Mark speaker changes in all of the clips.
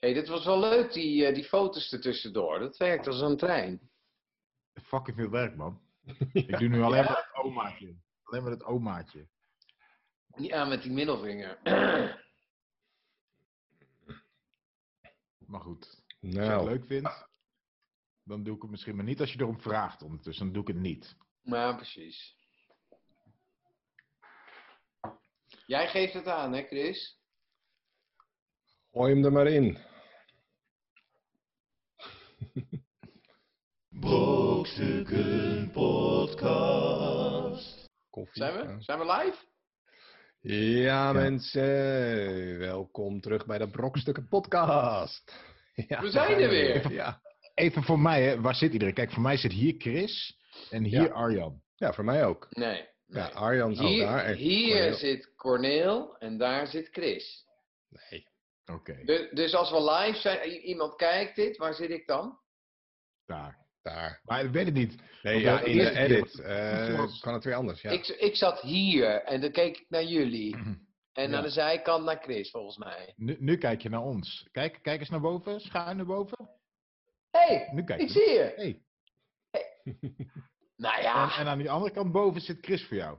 Speaker 1: hey, dit was wel leuk, die, eh, die foto's ertussendoor. Dat werkt als een trein.
Speaker 2: Fucking veel werk, man. Ik doe nu alleen maar het omaatje. Alleen maar het omaatje.
Speaker 1: Ja, met die middelvinger.
Speaker 2: Maar goed, als je het
Speaker 3: Nou,
Speaker 2: leuk vindt, dan doe ik het misschien maar niet. Als je erom vraagt ondertussen, dan doe ik het niet.
Speaker 1: maar precies. Jij geeft het aan, hè, Chris?
Speaker 3: gooi hem er maar in.
Speaker 4: Brokstukken Podcast.
Speaker 3: Koffie.
Speaker 1: Zijn
Speaker 3: ja.
Speaker 1: we? Zijn we live?
Speaker 3: Ja, mensen. Welkom terug bij de Brokstukken Podcast. Ja,
Speaker 1: We zijn er weer.
Speaker 3: Ja.
Speaker 2: Even voor mij, hè. waar zit iedereen? Kijk, voor mij zit hier Chris en hier
Speaker 3: Ja.
Speaker 2: Arjan.
Speaker 3: ja, voor mij ook.
Speaker 1: Nee.
Speaker 3: Ja,
Speaker 1: nee.
Speaker 3: Arjan zat daar.
Speaker 1: Hier,
Speaker 3: en
Speaker 1: hier
Speaker 3: Cornel-
Speaker 1: zit Corneel en daar zit Chris.
Speaker 3: Nee,
Speaker 2: Oké,
Speaker 1: Du- dus als we live zijn, i- iemand kijkt dit, waar zit ik dan?
Speaker 2: daar.
Speaker 3: daar.
Speaker 2: Maar ik weet het niet.
Speaker 3: Nee,
Speaker 2: Want
Speaker 3: ja,
Speaker 2: de
Speaker 3: in de
Speaker 2: eerste keer was
Speaker 3: edit.
Speaker 2: het
Speaker 3: eh,
Speaker 2: goed zoals-
Speaker 3: kan het weer anders, ja.
Speaker 1: Ik, ik zat hier en dan keek ik naar jullie. En
Speaker 2: Ja.
Speaker 1: aan de zijkant naar Chris, volgens mij.
Speaker 2: Nu, nu kijk je naar ons. Kijk, kijk eens naar boven, schuin naar boven.
Speaker 1: hey,
Speaker 2: Nu kijk
Speaker 1: ik
Speaker 2: je.
Speaker 1: zie je.
Speaker 2: Hey.
Speaker 1: Nou
Speaker 2: En,
Speaker 1: ja,
Speaker 2: en aan die andere kant boven zit Chris voor jou.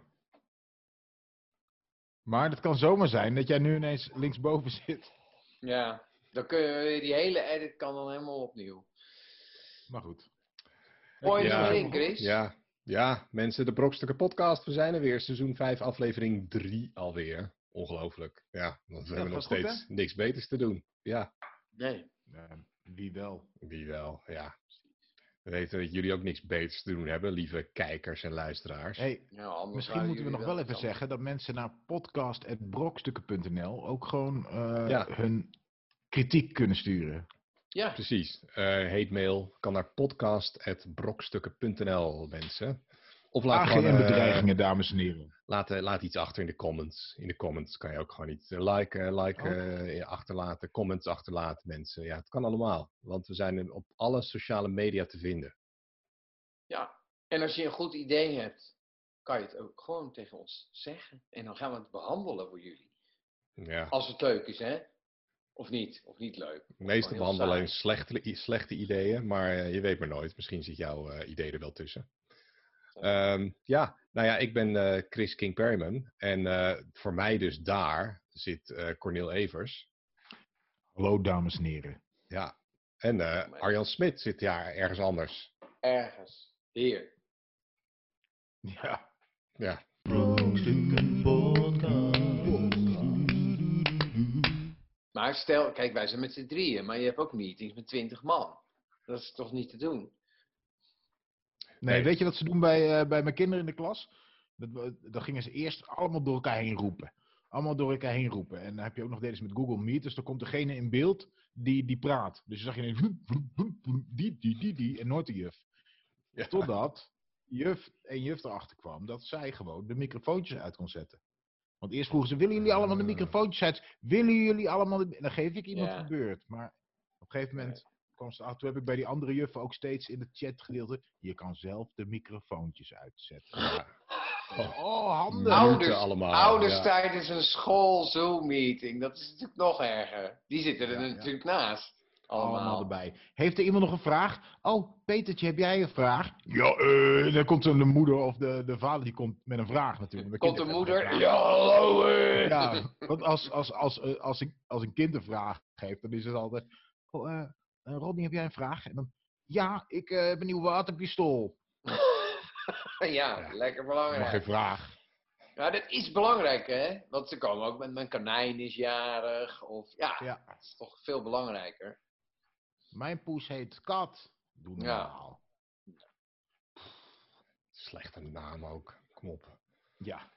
Speaker 2: Maar het kan zomaar zijn dat jij nu ineens linksboven zit.
Speaker 1: ja. Dan kun je, weer- die hele edit kan dan helemaal opnieuw.
Speaker 2: Maar goed. eh,
Speaker 1: Mooi
Speaker 3: Ja.
Speaker 1: ja. in, Chris.
Speaker 3: Ja, ja, mensen, de Brokstukken Podcast. We zijn er weer, seizoen 5, aflevering 3 alweer. Ongelooflijk. Ja, want we hebben nog
Speaker 2: gaat goed,
Speaker 3: steeds niks beters te doen. Ja,
Speaker 1: Nee.
Speaker 2: Eh, wie wel?
Speaker 3: die wel, ja. We weten dat jullie ook niks beters te doen hebben, lieve kijkers en luisteraars.
Speaker 2: Hey,
Speaker 1: Ja, Nou, anders
Speaker 2: misschien
Speaker 1: waren
Speaker 2: moeten we nog
Speaker 1: jullie
Speaker 2: wel even
Speaker 1: kant.
Speaker 2: zeggen dat mensen naar podcast.brokstukken.nl ook gewoon eh,
Speaker 3: Ja.
Speaker 2: hun kritiek kunnen sturen.
Speaker 1: Ja,
Speaker 3: Precies. Eh hate mail kan naar podcast.brokstukken.nl, mensen. Of laat gewoon,
Speaker 2: Ageren en
Speaker 3: eh,
Speaker 2: bedreigingen, dames en heren.
Speaker 3: laat, eh, laat iets achter in de comments. In de comments kan je ook gewoon iets eh, liken, liken,
Speaker 2: Oh.
Speaker 3: eh, achterlaten, comments achterlaten, mensen. Ja, het kan allemaal. Want we zijn op alle sociale media te vinden.
Speaker 1: ja. En als je een goed idee hebt, kan je het ook gewoon tegen ons zeggen. En dan gaan we het behandelen voor jullie.
Speaker 3: Ja,
Speaker 1: Als het leuk is, hè? Of niet? Of niet leuk?
Speaker 3: meestal
Speaker 1: heel
Speaker 3: behandelen we
Speaker 1: saai.
Speaker 3: alleen slechte, i- slechte ideeën, maar eh, je weet maar nooit. Misschien zit jouw eh, idee er wel tussen. Ehm, ja, nou ja, ik ben eh, Chris King Perryman en eh, voor mij dus daar zit eh Cornel Evers.
Speaker 2: Hallo, dames en heren.
Speaker 3: Ja, en eh, Arjan Smit zit ja, ergens anders.
Speaker 1: Ergens. Hier.
Speaker 2: Ja.
Speaker 3: Ja,
Speaker 4: Brokstukken Podcast.
Speaker 1: Maar stel, kijk, wij zijn met z'n drieën, maar je hebt ook meetings met twintig man. Dat is toch niet te doen?
Speaker 2: Nee,
Speaker 3: Nee.
Speaker 2: weet je wat ze doen bij, eh, bij mijn kinderen in de klas? Dat, we- dat gingen ze eerst allemaal door elkaar heen roepen. Allemaal door elkaar heen roepen. En dan heb je ook nog deed eens met Google Meet. Dus dan komt degene in beeld die, die praat. Dus dan zag je ineens... vloep, vloep, vloep, vloep, Die, die, die, die. En nooit de juf.
Speaker 3: ja.
Speaker 2: Totdat juf en juf erachter kwam dat zij gewoon de microfoontjes uit kon zetten. Want eerst vroegen ze, willen jullie allemaal de
Speaker 3: Ah.
Speaker 2: microfoontjes uit? Willen jullie allemaal... de-" En dan geef ik iemand
Speaker 1: Ja.
Speaker 2: de beurt. Maar op een gegeven moment kwam ze erachter. Toen heb ik bij die andere juffen ook steeds in het chatgedeelte... Je kan zelf de microfoontjes uitzetten. Oh, handig.
Speaker 1: Nou,
Speaker 3: Muten allemaal.
Speaker 2: Ah,
Speaker 1: Ouders
Speaker 3: ja.
Speaker 1: tijdens een school-Zoom-meeting, dat is natuurlijk nog erger. Die zitten er
Speaker 2: Ja, ja.
Speaker 1: natuurlijk naast. Allemaal.
Speaker 2: allemaal. erbij. Heeft er iemand nog een vraag? Oh, Petertje, heb jij een vraag? Ja, eh, dan komt dan de moeder of de, de vader die komt met een vraag natuurlijk. want
Speaker 1: Komt de
Speaker 2: kind heeft geen
Speaker 1: moeder.
Speaker 2: vraag.
Speaker 1: Ja, hallo. eh."
Speaker 2: Ja, want als, als, als, eh, als, een, als een kind een vraag geeft, dan is het altijd... Oh, eh, eh, Rodney, heb jij een vraag? En dan, ja, ik eh, heb een nieuw waterpistool.
Speaker 1: ja, lekker
Speaker 3: Ja.
Speaker 2: Maar geen
Speaker 1: belangrijk.
Speaker 2: vraag.
Speaker 1: Ja, dat is belangrijk, hè? Want ze komen ook met mijn konijn is jarig. Of ja,
Speaker 2: Ja.
Speaker 1: dat is toch veel belangrijker.
Speaker 2: Mijn poes heet Kat. Doe
Speaker 1: Ja.
Speaker 2: normaal.
Speaker 3: Slechte naam ook. Kom op.
Speaker 2: Ja.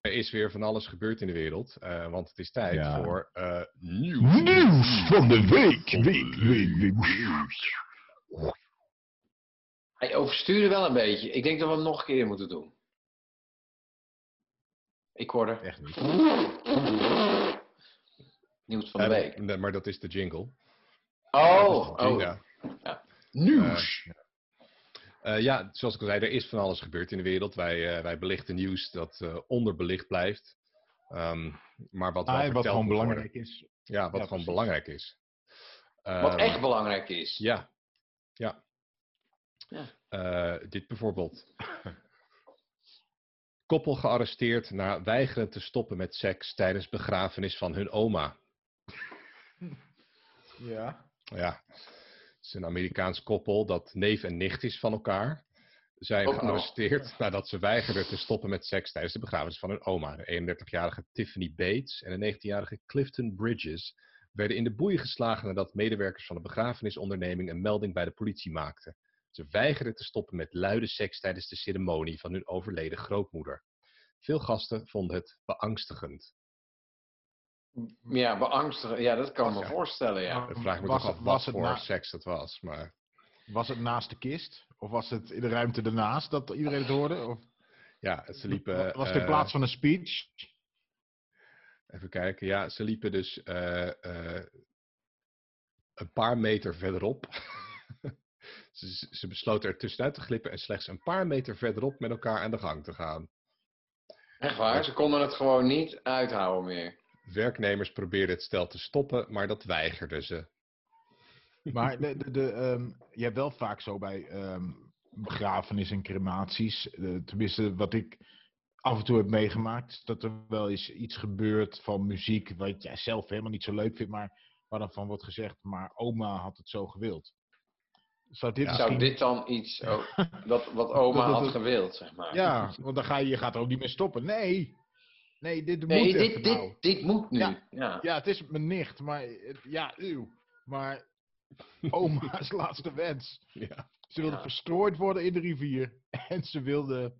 Speaker 3: Er is weer van alles gebeurd in de wereld, eh, want het is tijd
Speaker 2: Ja.
Speaker 3: voor eh, nieuws.
Speaker 2: Nieuws van de week. Week, week, week.
Speaker 1: Hij overstuurde wel een beetje. Ik denk dat we hem nog een keer moeten doen. Ik hoor er.
Speaker 2: Echt niet.
Speaker 1: Nieuws van de
Speaker 3: Eh,
Speaker 1: week.
Speaker 3: nee, maar dat is de jingle.
Speaker 1: Oh, oh.
Speaker 3: Ja.
Speaker 1: Nieuws.
Speaker 3: Eh, ja, zoals ik al zei, er is van alles gebeurd in de wereld. Wij, eh, wij belichten nieuws dat eh, onderbelicht blijft. Ehm, maar wat, wel
Speaker 2: Ah, en
Speaker 3: verteld
Speaker 2: wat gewoon
Speaker 3: moet worden.
Speaker 2: belangrijk is.
Speaker 3: Ja, wat
Speaker 2: Ja,
Speaker 3: gewoon
Speaker 2: precies.
Speaker 3: belangrijk is.
Speaker 1: Wat
Speaker 3: Ehm,
Speaker 1: echt belangrijk is.
Speaker 3: Ja. Ja.
Speaker 1: Ja.
Speaker 3: Eh, dit bijvoorbeeld. Koppel gearresteerd na weigeren te stoppen met seks tijdens begrafenis van hun oma.
Speaker 2: Ja.
Speaker 3: Ja, het is een Amerikaans koppel dat neef en nicht is van elkaar. Zijn
Speaker 1: Ook nog.
Speaker 3: gearresteerd nadat ze weigerden te stoppen met seks tijdens de begrafenis van hun oma. De 31-jarige Tiffany Bates en de 19-jarige Clifton Bridges werden in de boeien geslagen nadat medewerkers van de begrafenisonderneming een melding bij de politie maakten. Ze weigerden te stoppen met luide seks tijdens de ceremonie van hun overleden grootmoeder. Veel gasten vonden het beangstigend.
Speaker 1: Ja, beangstigen. Ja, dat kan ik me
Speaker 3: Ja.
Speaker 1: voorstellen, ja.
Speaker 3: Dan vraag ik me
Speaker 2: Was
Speaker 3: toch af
Speaker 2: het-
Speaker 3: wat
Speaker 2: was het
Speaker 3: voor
Speaker 2: na-
Speaker 3: seks dat was. Maar
Speaker 2: Was het naast de kist? Of was het in de ruimte ernaast dat iedereen het hoorde? Of
Speaker 3: ja, ze liepen.
Speaker 2: was het in
Speaker 3: eh,
Speaker 2: plaats van een speech?
Speaker 3: Even kijken. Ja, ze liepen dus eh, eh, een paar meter verderop. ze, ze besloten er tussenuit te glippen en slechts een paar meter verderop met elkaar aan de gang te gaan.
Speaker 1: Echt waar, ze konden het gewoon niet uithouden meer.
Speaker 3: Werknemers probeerden het stel te stoppen, maar dat weigerden ze.
Speaker 2: Maar de, de, de, ehm, je hebt wel vaak zo bij ehm begrafenissen en crematies, eh, tenminste wat ik af en toe heb meegemaakt, is dat er wel eens iets gebeurt van muziek wat jij zelf helemaal niet zo leuk vindt, maar waar dan van wordt gezegd, maar oma had het zo gewild. Zou dit
Speaker 3: Ja.
Speaker 2: misschien...
Speaker 1: Zou dit dan iets ook, dat, wat oma
Speaker 2: Dat- dat-
Speaker 1: had gewild, zeg maar?
Speaker 2: Ja, want dan ga je, je gaat er ook niet meer stoppen. Nee, nee, dit
Speaker 1: Nee,
Speaker 2: moet even
Speaker 1: dit,
Speaker 2: nou.
Speaker 1: dit, dit moet nu. Ja.
Speaker 2: Ja. Ja, het is mijn nicht, maar het- ja, uw. Maar oma's laatste wens.
Speaker 3: Ja.
Speaker 2: Ze wilde
Speaker 1: Ja.
Speaker 2: verstrooid worden in de rivier. En ze wilde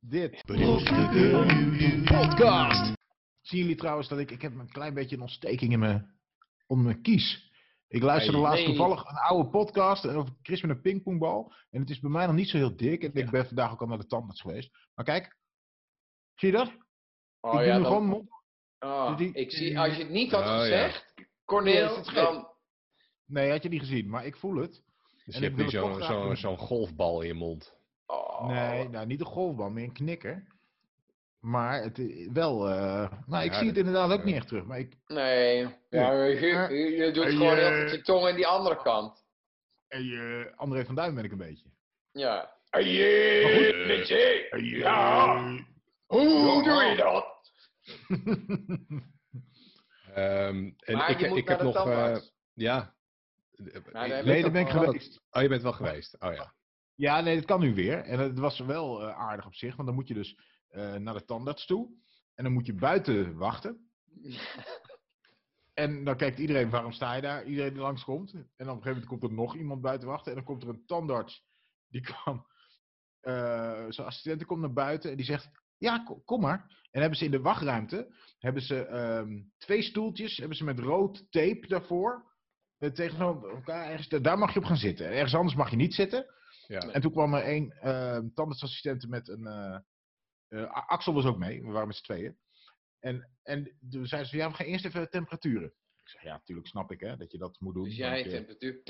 Speaker 2: dit.
Speaker 4: Brokstukken.
Speaker 2: Podcast! Zien jullie trouwens dat ik... Ik heb een klein beetje een ontsteking in mijn, om mijn kies. Ik luisterde
Speaker 3: Hey.
Speaker 2: laatst
Speaker 1: Hey.
Speaker 2: toevallig een oude podcast over Chris met een pingpongbal. En het is bij mij nog niet zo heel dik. En ik ben vandaag ook al naar de tandarts geweest. Maar kijk. Zie je dat? ik
Speaker 1: Oh,
Speaker 2: doe
Speaker 1: ja,
Speaker 2: nu
Speaker 1: dan-
Speaker 2: gewoon mond-
Speaker 1: oh,
Speaker 2: die-
Speaker 1: ik zie, als je het niet had
Speaker 3: Oh, ja.
Speaker 1: gezegd,
Speaker 2: Nee,
Speaker 1: Corneel,
Speaker 2: is het gek.
Speaker 1: dan...
Speaker 2: Nee, had je niet gezien. Maar ik voel het.
Speaker 3: Dus
Speaker 2: En
Speaker 3: je
Speaker 2: ik wil
Speaker 3: hebt nu
Speaker 2: het
Speaker 3: zo'n
Speaker 2: toch graag
Speaker 3: zo'n-
Speaker 2: doen.
Speaker 3: zo'n golfbal in je mond.
Speaker 1: Oh,
Speaker 2: Nee, nou niet een golfbal, meer een knikker. Maar het i- wel. eh nou, ik
Speaker 3: Ja,
Speaker 2: zie het
Speaker 3: dat-
Speaker 2: inderdaad ook
Speaker 3: eh,
Speaker 2: niet echt terug. Maar ik,
Speaker 1: nee. Ja, je, je, je doet
Speaker 2: Hey,
Speaker 1: gewoon
Speaker 2: eh.
Speaker 1: heel goed je tong aan die andere kant.
Speaker 2: hey, eh, André van Duin ben ik een beetje.
Speaker 1: Ja.
Speaker 2: Maar goed,
Speaker 1: Hey, met je- Ja. Hoe doe je dat?
Speaker 3: Ehm, en
Speaker 1: Maar
Speaker 3: ik,
Speaker 1: je moet
Speaker 3: ik
Speaker 1: naar
Speaker 3: heb
Speaker 1: de
Speaker 3: nog. eh,
Speaker 1: tandarts.
Speaker 3: ja.
Speaker 1: daar heb
Speaker 2: nee, daar ben
Speaker 1: Weet dat
Speaker 2: ik
Speaker 1: wel.
Speaker 2: geweest.
Speaker 3: Oh, je bent wel geweest. Oh ja.
Speaker 2: Ja, nee, dat kan nu weer. En het was wel eh, aardig op zich, want dan moet je dus eh, naar de tandarts toe. En dan moet je buiten wachten. En dan kijkt iedereen, waarom sta je daar? Iedereen die langskomt. En op een gegeven moment komt er nog iemand buiten wachten. En dan komt er een tandarts. Die kwam, eh, zijn assistente komt naar buiten en die zegt, ja, ko- kom, maar. En hebben ze in de wachtruimte, hebben ze ehm, twee stoeltjes, hebben ze met rood tape daarvoor. eh, Tegenover elkaar, ergens, daar mag je op gaan zitten. Ergens anders mag je niet zitten.
Speaker 3: ja.
Speaker 2: En toen kwam er één ehm tandartsassistente met een... eh, eh, A- Axel was ook mee, we waren met z'n tweeën. En, en toen zeiden ze, ja, we gaan eerst even temperaturen. Ik zei, ja, natuurlijk snap ik hè, dat je dat moet doen.
Speaker 1: Dus jij
Speaker 2: want je-
Speaker 1: temperatuur.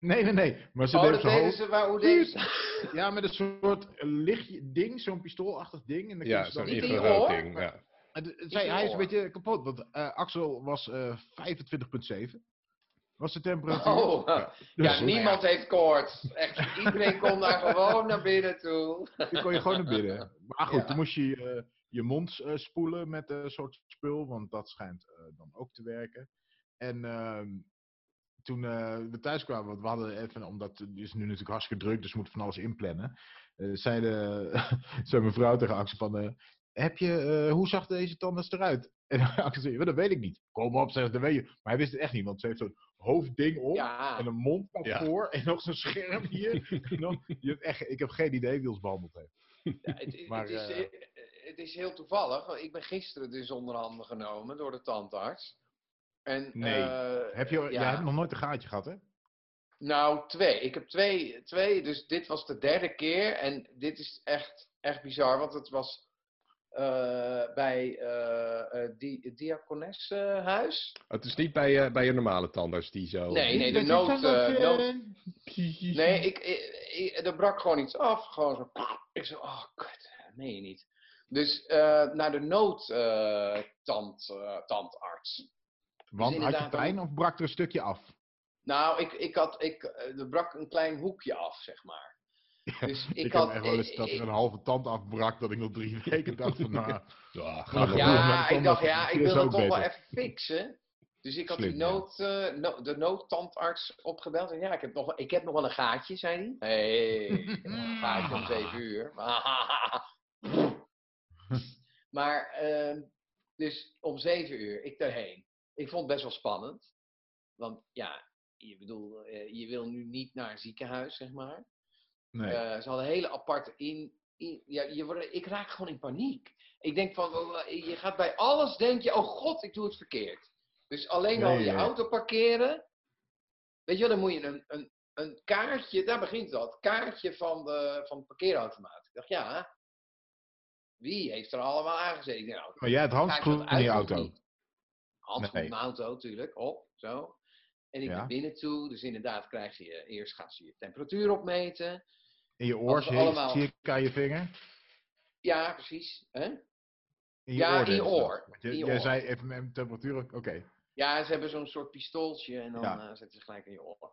Speaker 2: Nee, nee, nee. Maar ze
Speaker 1: Oh,
Speaker 2: deden
Speaker 1: dat
Speaker 2: zo hoog.
Speaker 1: deden ze, waar, hoe deden ze?
Speaker 2: Ja, met een soort eh, lichtje ding, zo'n pistoolachtig ding. En dan
Speaker 3: Ja,
Speaker 2: kunnen ze
Speaker 3: zo'n
Speaker 2: dan-
Speaker 1: Niet in je
Speaker 3: infrarood
Speaker 1: oor,
Speaker 3: ding,
Speaker 1: maar-
Speaker 3: Ja.
Speaker 2: En het- het zei- hij is een
Speaker 1: oor.
Speaker 2: beetje kapot, want eh, Axel was eh 25,7. Was de temperatuur.
Speaker 1: Oh,
Speaker 2: Dus,
Speaker 1: ja, niemand heeft koorts. Echt, iedereen kon daar gewoon naar binnen toe.
Speaker 2: Dan kon je gewoon naar binnen. Maar goed,
Speaker 1: Ja.
Speaker 2: dan moest je eh, je mond eh, spoelen met een soort spul, want dat schijnt eh, dan ook te werken. En ehm, toen eh, we thuis kwamen, want we hadden even, omdat het is nu natuurlijk hartstikke druk, dus we moeten van alles inplannen. eh, zei, de, zei mijn vrouw tegen Axel van, eh, heb je, eh, hoe zag deze tandarts eruit? En Axel zei, "Wel, dat weet ik niet. Kom op, zeg, dat weet je. Maar hij wist het echt niet, want ze heeft zo'n hoofdding op.
Speaker 1: Ja,
Speaker 2: En een mondkap
Speaker 3: Ja.
Speaker 2: voor en nog zo'n scherm hier. En dan- je hebt echt, ik heb geen idee wie ons behandeld heeft.
Speaker 1: Ja, het,
Speaker 2: Maar,
Speaker 1: het, is,
Speaker 2: eh,
Speaker 1: het is heel toevallig. want Ik ben gisteren dus onder handen genomen door de tandarts. En,
Speaker 2: Nee.
Speaker 1: eh,
Speaker 2: Heb je,
Speaker 1: ja.
Speaker 2: Jij hebt nog nooit een gaatje gehad, hè?
Speaker 1: Nou, twee. Ik heb twee, twee. Dus dit was de derde keer. En dit is echt, echt bizar. Want het was eh, bij eh eh, die, het diakonessenhuis.
Speaker 3: Het is niet bij, eh, bij je normale tandarts die zo...
Speaker 1: Nee, nee, de nood... eh, nood- nee, ik, ik, ik- er brak gewoon iets af. Gewoon zo... Ik zo, oh, kut. dat meen je niet. Dus eh, naar de noodtand, eh, tandarts.
Speaker 2: Want had
Speaker 1: dus
Speaker 2: je
Speaker 1: inderdaad
Speaker 2: pijn of brak er een stukje af?
Speaker 1: Nou, ik, ik had, ik, eh, er brak een klein hoekje af, zeg maar. Dus ik,
Speaker 2: Ik,
Speaker 1: had.
Speaker 2: heb echt wel eens dat
Speaker 1: ik-
Speaker 2: er een halve tand afbrak, dat ik nog drie weken dacht van, nou,
Speaker 3: Ja, ga
Speaker 2: Ja, maar
Speaker 3: door.
Speaker 1: ja,
Speaker 2: dan
Speaker 1: ik dacht,
Speaker 2: was-
Speaker 1: ja, ik
Speaker 2: is
Speaker 1: wil dat
Speaker 2: ook
Speaker 1: toch wel
Speaker 2: beter.
Speaker 1: even fixen. Dus ik had die
Speaker 3: Slim, ja.
Speaker 1: nood, eh, no- de noodtandarts opgebeld. En ja, ik heb nog, wel- ik heb nog wel een gaatje, zei hij. Hé, hey, een gaatje om zeven uur. maar, ehm, dus om zeven uur, ik daarheen. Ik vond het best wel spannend. Want ja, je, bedoel, eh, je wil nu niet naar een ziekenhuis, zeg maar.
Speaker 2: nee.
Speaker 1: Eh, ze hadden hele aparte in. in- ja, je wordt, ik raak gewoon in paniek. Ik denk van, wa- wa- je gaat bij alles denk je, oh god, ik doe het verkeerd. Dus alleen al
Speaker 3: Nee,
Speaker 1: je
Speaker 3: ja.
Speaker 1: auto parkeren. Weet je wel, dan moet je een, een, een kaartje, daar begint dat, kaartje van de, van de parkeerautomaat. Ik dacht, ja, wie heeft er allemaal aangezeten? Ik denk, nou,
Speaker 2: maar jij had
Speaker 1: Maakt dat
Speaker 2: handschoenen in
Speaker 1: uit
Speaker 2: je
Speaker 1: of
Speaker 2: auto.
Speaker 1: niet? Handschoen
Speaker 2: Nee.
Speaker 1: in mijn auto, natuurlijk. Op, zo. En ik
Speaker 2: Ja.
Speaker 1: ben binnen toe, dus inderdaad krijg je, eerst gaan ze je temperatuur opmeten.
Speaker 2: In je
Speaker 1: Als
Speaker 2: oor,
Speaker 1: we
Speaker 2: zie je-
Speaker 1: allemaal-
Speaker 2: zie ik aan je vinger.
Speaker 1: Ja, precies. Hè?
Speaker 2: In je
Speaker 1: Ja,
Speaker 2: oor
Speaker 1: in je
Speaker 2: deden ze dat.
Speaker 1: oor,
Speaker 2: Want je-
Speaker 1: in je
Speaker 2: jij
Speaker 1: oor.
Speaker 2: zei even mijn temperatuur, oké.
Speaker 1: Ja, ze hebben zo'n soort pistooltje en dan
Speaker 2: Ja.
Speaker 1: eh, zetten ze gelijk in je oren.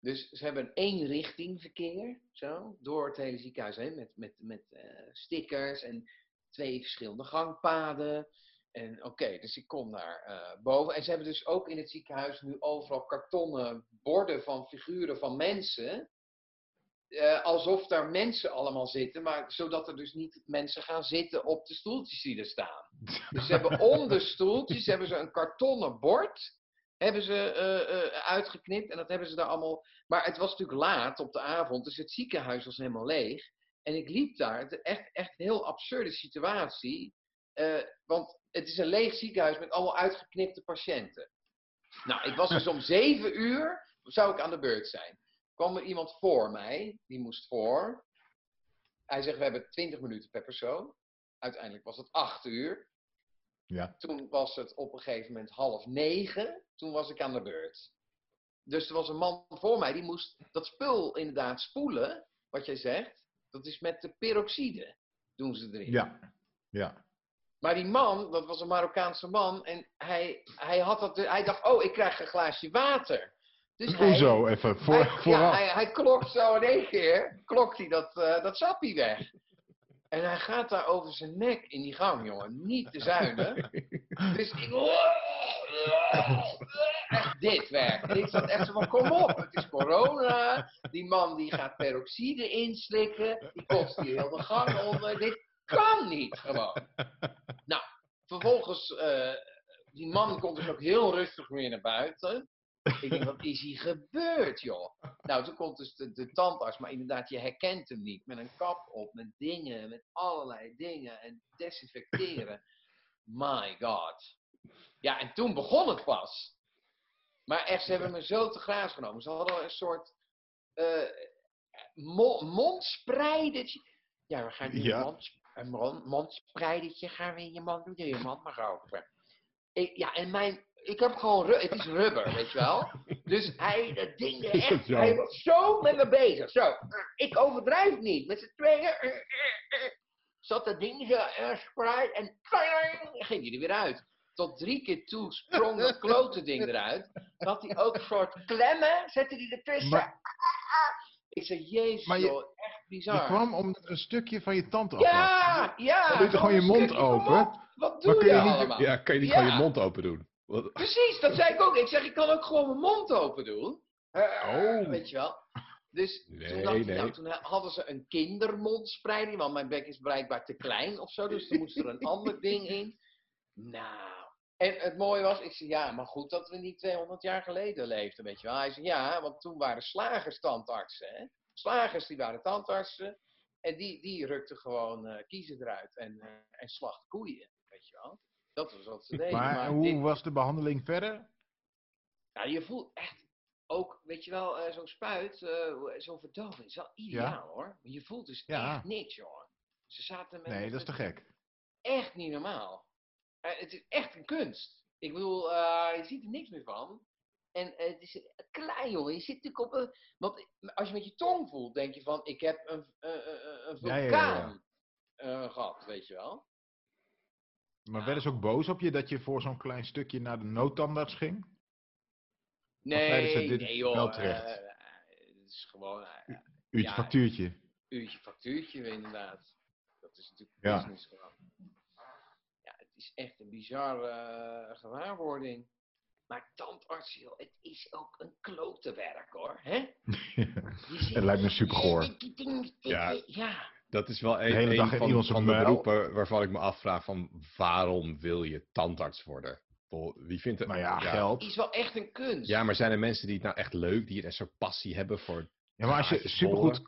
Speaker 1: Dus ze hebben een éénrichting verkeer, zo, door het hele ziekenhuis heen, met, met, met eh, stickers en twee verschillende gangpaden. En oké, dus ik kom naar eh, boven. En ze hebben dus ook in het ziekenhuis nu overal kartonnen borden van figuren van mensen. eh, alsof daar mensen allemaal zitten, maar zodat er dus niet mensen gaan zitten op de stoeltjes die er staan. Dus ze hebben om de stoeltjes hebben ze een kartonnen bord hebben ze, eh, eh, uitgeknipt en dat hebben ze daar allemaal. Maar het was natuurlijk laat op de avond, dus het ziekenhuis was helemaal leeg. En ik liep daar, het is echt, echt een heel absurde situatie. eh, want het is een leeg ziekenhuis met allemaal uitgeknipte patiënten. Nou, ik was dus om zeven uur, zou ik aan de beurt zijn. Kwam er iemand voor mij, die moest voor. Hij zegt, we hebben 20 minuten per persoon. Uiteindelijk was het acht uur.
Speaker 2: Ja.
Speaker 1: Toen was het op een gegeven moment half negen. Toen was ik aan de beurt. Dus er was een man voor mij, die moest dat spul inderdaad spoelen, wat jij zegt. Dat is met de peroxide, doen ze erin.
Speaker 2: Ja, ja.
Speaker 1: Maar die man, dat was een Marokkaanse man, en hij, hij, had dat, hij dacht, oh, ik krijg een glaasje water. Dus hij,
Speaker 2: Hoezo, even voor,
Speaker 1: hij, Ja,
Speaker 2: vooraf.
Speaker 1: hij, hij klokt zo in één keer, klokt hij dat, eh dat sappie weg. En hij gaat daar over zijn nek in die gang, jongen. Niet te zuinen. Dus ik... Echt dit werk. En ik zat echt zo van, kom op, het is corona. Die man die gaat peroxide inslikken. Die kotst hier heel de gang onder. Dit kan niet gewoon. Nou, vervolgens... eh, die man komt dus ook heel rustig weer naar buiten. Ik denk, wat is hier gebeurd, joh? Nou, toen komt dus de, de tandarts, maar inderdaad, je herkent hem niet. Met een kap op, met dingen, met allerlei dingen en desinfecteren. My god. Ja, en toen begon het pas. Maar echt, ze hebben me zo te graas genomen. Ze hadden een soort eh mo- mondspreidertje. Ja, we gaan nu
Speaker 2: Ja.
Speaker 1: een, mond, een mon- mondspreidertje gaan we in je mond doen. Doe Je mond maar open. Ik, ja, en mijn... Ik heb gewoon... ru- Het is rubber, weet je wel? Dus hij, dat ding,
Speaker 2: Is dat
Speaker 1: echt,
Speaker 2: zo?
Speaker 1: hij was zo met me bezig. Zo, eh, ik overdrijf niet. Met z'n tweeën eh, eh, eh, zat dat ding zo eh, spreid en kling, ging hij er weer uit. Tot drie keer toe sprong dat klote ding eruit. Dan had hij ook een soort klemmen, zette hij ertussen. Ah,
Speaker 2: Maar-
Speaker 1: ik zei, jezus
Speaker 2: Maar je-
Speaker 1: joh, echt
Speaker 2: Je
Speaker 1: bizar.
Speaker 2: kwam om een stukje van je tand af. was.
Speaker 1: ja, ja.
Speaker 2: Dan doe je toch gewoon je
Speaker 1: zo'n
Speaker 2: mond
Speaker 1: stukje van
Speaker 2: open?
Speaker 1: mond. Wat doe
Speaker 2: kun
Speaker 1: je,
Speaker 2: je niet-
Speaker 1: allemaal?
Speaker 3: Ja, kan je niet
Speaker 1: Ja.
Speaker 3: gewoon je mond open doen? Wat-
Speaker 1: Precies, dat zei ik ook. Ik zeg, ik kan ook gewoon mijn mond open doen. Eh,
Speaker 3: Oh.
Speaker 1: Weet je wel. Dus toen,
Speaker 3: Nee,
Speaker 1: dacht ik,
Speaker 3: nee.
Speaker 1: nou, toen hadden ze een kindermondspreiding, want mijn bek is blijkbaar te klein of zo, dus er moest er een ander ding in. Nou, en het mooie was, ik zei, ja, maar goed dat we niet 200 jaar geleden leefden, weet je wel. Hij zei, ja, want toen waren slagers tandartsen, hè. Slagers, die waren tandartsen, en die, die rukten gewoon eh, kiezen eruit en, eh en slacht koeien, weet je wel. Dat was wat ze deden.
Speaker 2: maar hoe
Speaker 1: dit-
Speaker 2: was de behandeling verder?
Speaker 1: ja, Nou, je voelt echt ook, weet je wel, eh, zo'n spuit, eh, zo'n verdoving, is wel ideaal hoor. Maar je voelt dus
Speaker 2: Ja.
Speaker 1: echt niks, joh. Ze zaten met
Speaker 2: Nee,
Speaker 1: met
Speaker 2: dat is te
Speaker 1: het-
Speaker 2: gek.
Speaker 1: echt niet normaal. Eh, het is echt een kunst. Ik bedoel, eh, je ziet er niks meer van. En eh, het is klein, jongen. Je zit natuurlijk op een... Want als je met je tong voelt, denk je van... Ik heb een, eh, eh, eh, een
Speaker 3: Ja, ja, ja, ja.
Speaker 1: vulkaan eh, gehad, weet je wel.
Speaker 2: Maar werden ze ook boos op je dat je voor zo'n klein stukje naar de noodtandarts ging? zeiden
Speaker 1: Nee,
Speaker 2: ze, dit is
Speaker 1: nee joh.
Speaker 2: wel
Speaker 1: eh,
Speaker 2: terecht?
Speaker 1: eh, het is gewoon eh, een
Speaker 2: Uurtje
Speaker 1: Ja.
Speaker 2: factuurtje.
Speaker 1: uurtje factuurtje inderdaad. Dat is natuurlijk
Speaker 2: Ja.
Speaker 1: business gewoon. Ja, het is echt een bizarre eh, gewaarwording. Maar tandarts, joh, het is ook een klote werk hoor. Hè?
Speaker 2: Het lijkt me supergoor.
Speaker 1: Ja.
Speaker 3: Ja.
Speaker 1: ja.
Speaker 3: Dat is wel een,
Speaker 2: hele
Speaker 3: een
Speaker 2: dag in
Speaker 3: van,
Speaker 2: iemands
Speaker 3: van de
Speaker 2: muil.
Speaker 3: beroepen waarvan ik me afvraag van waarom wil je tandarts worden? Ik bedoel, Wie vindt het?
Speaker 2: Maar ja, geld.
Speaker 1: Is wel echt een kunst.
Speaker 3: Ja, maar zijn er mensen die het nou echt leuk, die een soort passie hebben voor...
Speaker 2: Ja, maar als
Speaker 3: Ja,
Speaker 2: je
Speaker 3: als je
Speaker 2: supergoed,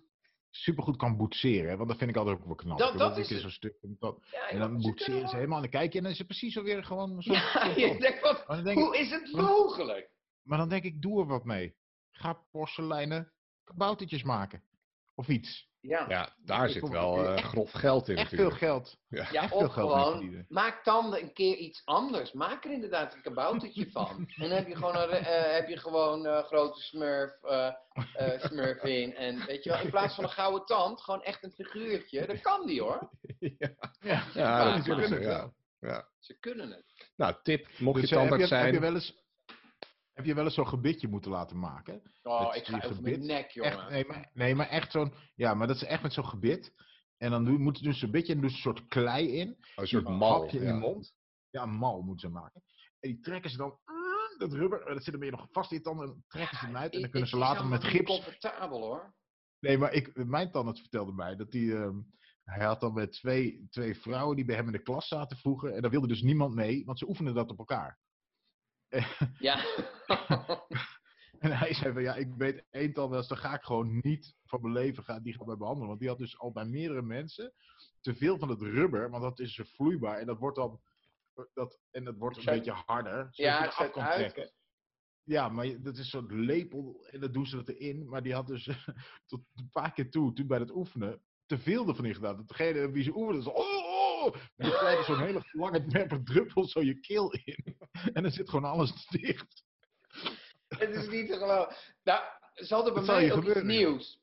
Speaker 2: supergoed kan boetseren, hè, want dat vind ik altijd ook wel knap.
Speaker 1: Dat-
Speaker 2: hoor,
Speaker 1: dat
Speaker 2: want
Speaker 1: is
Speaker 2: ik
Speaker 1: het.
Speaker 2: zo'n stuk, en dan-
Speaker 1: Ja,
Speaker 2: en
Speaker 1: joh,
Speaker 2: dan
Speaker 1: ze
Speaker 2: boetseren ze
Speaker 1: kunnen
Speaker 2: helemaal en dan kijk je en dan is het precies alweer gewoon zo'n
Speaker 1: wel- Ja,
Speaker 2: soort
Speaker 1: je
Speaker 2: van.
Speaker 1: denkt, wat,
Speaker 2: Maar dan denk ik,
Speaker 1: hoe is het mogelijk?
Speaker 2: Maar dan denk ik, doe er wat mee. Ga porseleinen kaboutertjes maken. Of iets.
Speaker 1: Ja, ja,
Speaker 3: Ja, daar
Speaker 2: Ik
Speaker 3: zit
Speaker 2: kom-
Speaker 3: wel eh,
Speaker 2: echt-
Speaker 3: grof geld in
Speaker 2: Echt veel
Speaker 3: natuurlijk.
Speaker 2: geld. echt veel
Speaker 1: of
Speaker 2: geld mee
Speaker 1: gewoon,
Speaker 2: verdienen.
Speaker 1: maak tanden een keer iets anders. Maak er inderdaad een kaboutertje van. En dan heb je gewoon, een, re- eh, heb je gewoon eh, grote smurf, eh eh, smurf in. En weet je wel, in plaats van een gouden tand, gewoon echt een figuurtje. Dat kan die hoor.
Speaker 3: ja,
Speaker 2: Ja,
Speaker 1: dat
Speaker 3: ja,
Speaker 1: is
Speaker 3: dat
Speaker 1: wel
Speaker 3: kunnen ze,
Speaker 2: zo.
Speaker 3: ja.
Speaker 1: Ze kunnen het.
Speaker 3: Nou, tip, mocht
Speaker 2: Dus,
Speaker 3: je
Speaker 2: eh, heb,
Speaker 3: tandarts
Speaker 2: je, heb
Speaker 3: zijn...
Speaker 2: je wel eens... Heb je wel eens zo'n gebitje moeten laten maken?
Speaker 1: Oh,
Speaker 2: Dat
Speaker 1: ik
Speaker 2: is
Speaker 1: ga
Speaker 2: die
Speaker 1: over mijn
Speaker 2: gebit.
Speaker 1: nek, jongen.
Speaker 2: Echt, eh, nee, maar, nee, maar echt zo'n... Ja, maar dat is echt met zo'n gebit. En dan doen- moeten ze dus een beetje en doen ze een soort klei in.
Speaker 3: Een soort
Speaker 2: Een
Speaker 3: mal.
Speaker 2: hapje in
Speaker 3: ja.
Speaker 2: de mond. Ja, een mal moeten ze maken. En die trekken ze dan... mm, Dat rubber, dat zit er meer nog vast in je tanden. en dan trekken ze hem uit en dan
Speaker 1: Het
Speaker 2: kunnen ze
Speaker 1: is
Speaker 2: later
Speaker 1: allemaal
Speaker 2: met
Speaker 1: niet
Speaker 2: gips
Speaker 1: comfortabel hoor.
Speaker 2: Nee, maar ik, mijn tandarts vertelde mij dat hij... ehm, hij had dan met twee, twee vrouwen die bij hem in de klas zaten vroeger. En daar wilde dus niemand mee, want ze oefenden dat op elkaar.
Speaker 1: Ja.
Speaker 2: En hij zei van, ja, ik weet één tandarts, daar ga ik gewoon niet van mijn leven gaan, die gaat mij behandelen. Want die had dus al bij meerdere mensen te veel van het rubber, want dat is vloeibaar. En dat wordt dan, dat, en dat wordt een
Speaker 1: Zo-
Speaker 2: beetje harder. zodat
Speaker 1: ja,
Speaker 2: je
Speaker 1: het
Speaker 2: het af
Speaker 1: zet
Speaker 2: kan
Speaker 1: uit.
Speaker 2: trekken. Ja, maar je- dat is zo'n lepel en dat doen ze dat erin. Maar die had dus tot een paar keer toe, toen bij dat oefenen, te veel ervan in gedaan. Dat degene wie ze oefende, zo, oh, oh, die krijgt zo'n hele lange nepper druppel zo je keel in. En dan zit gewoon alles dicht.
Speaker 1: Het is niet te geloven. Nou, ze hadden bij
Speaker 2: Dat zal
Speaker 1: mij
Speaker 2: je
Speaker 1: ook
Speaker 2: gebeuren.
Speaker 1: iets nieuws.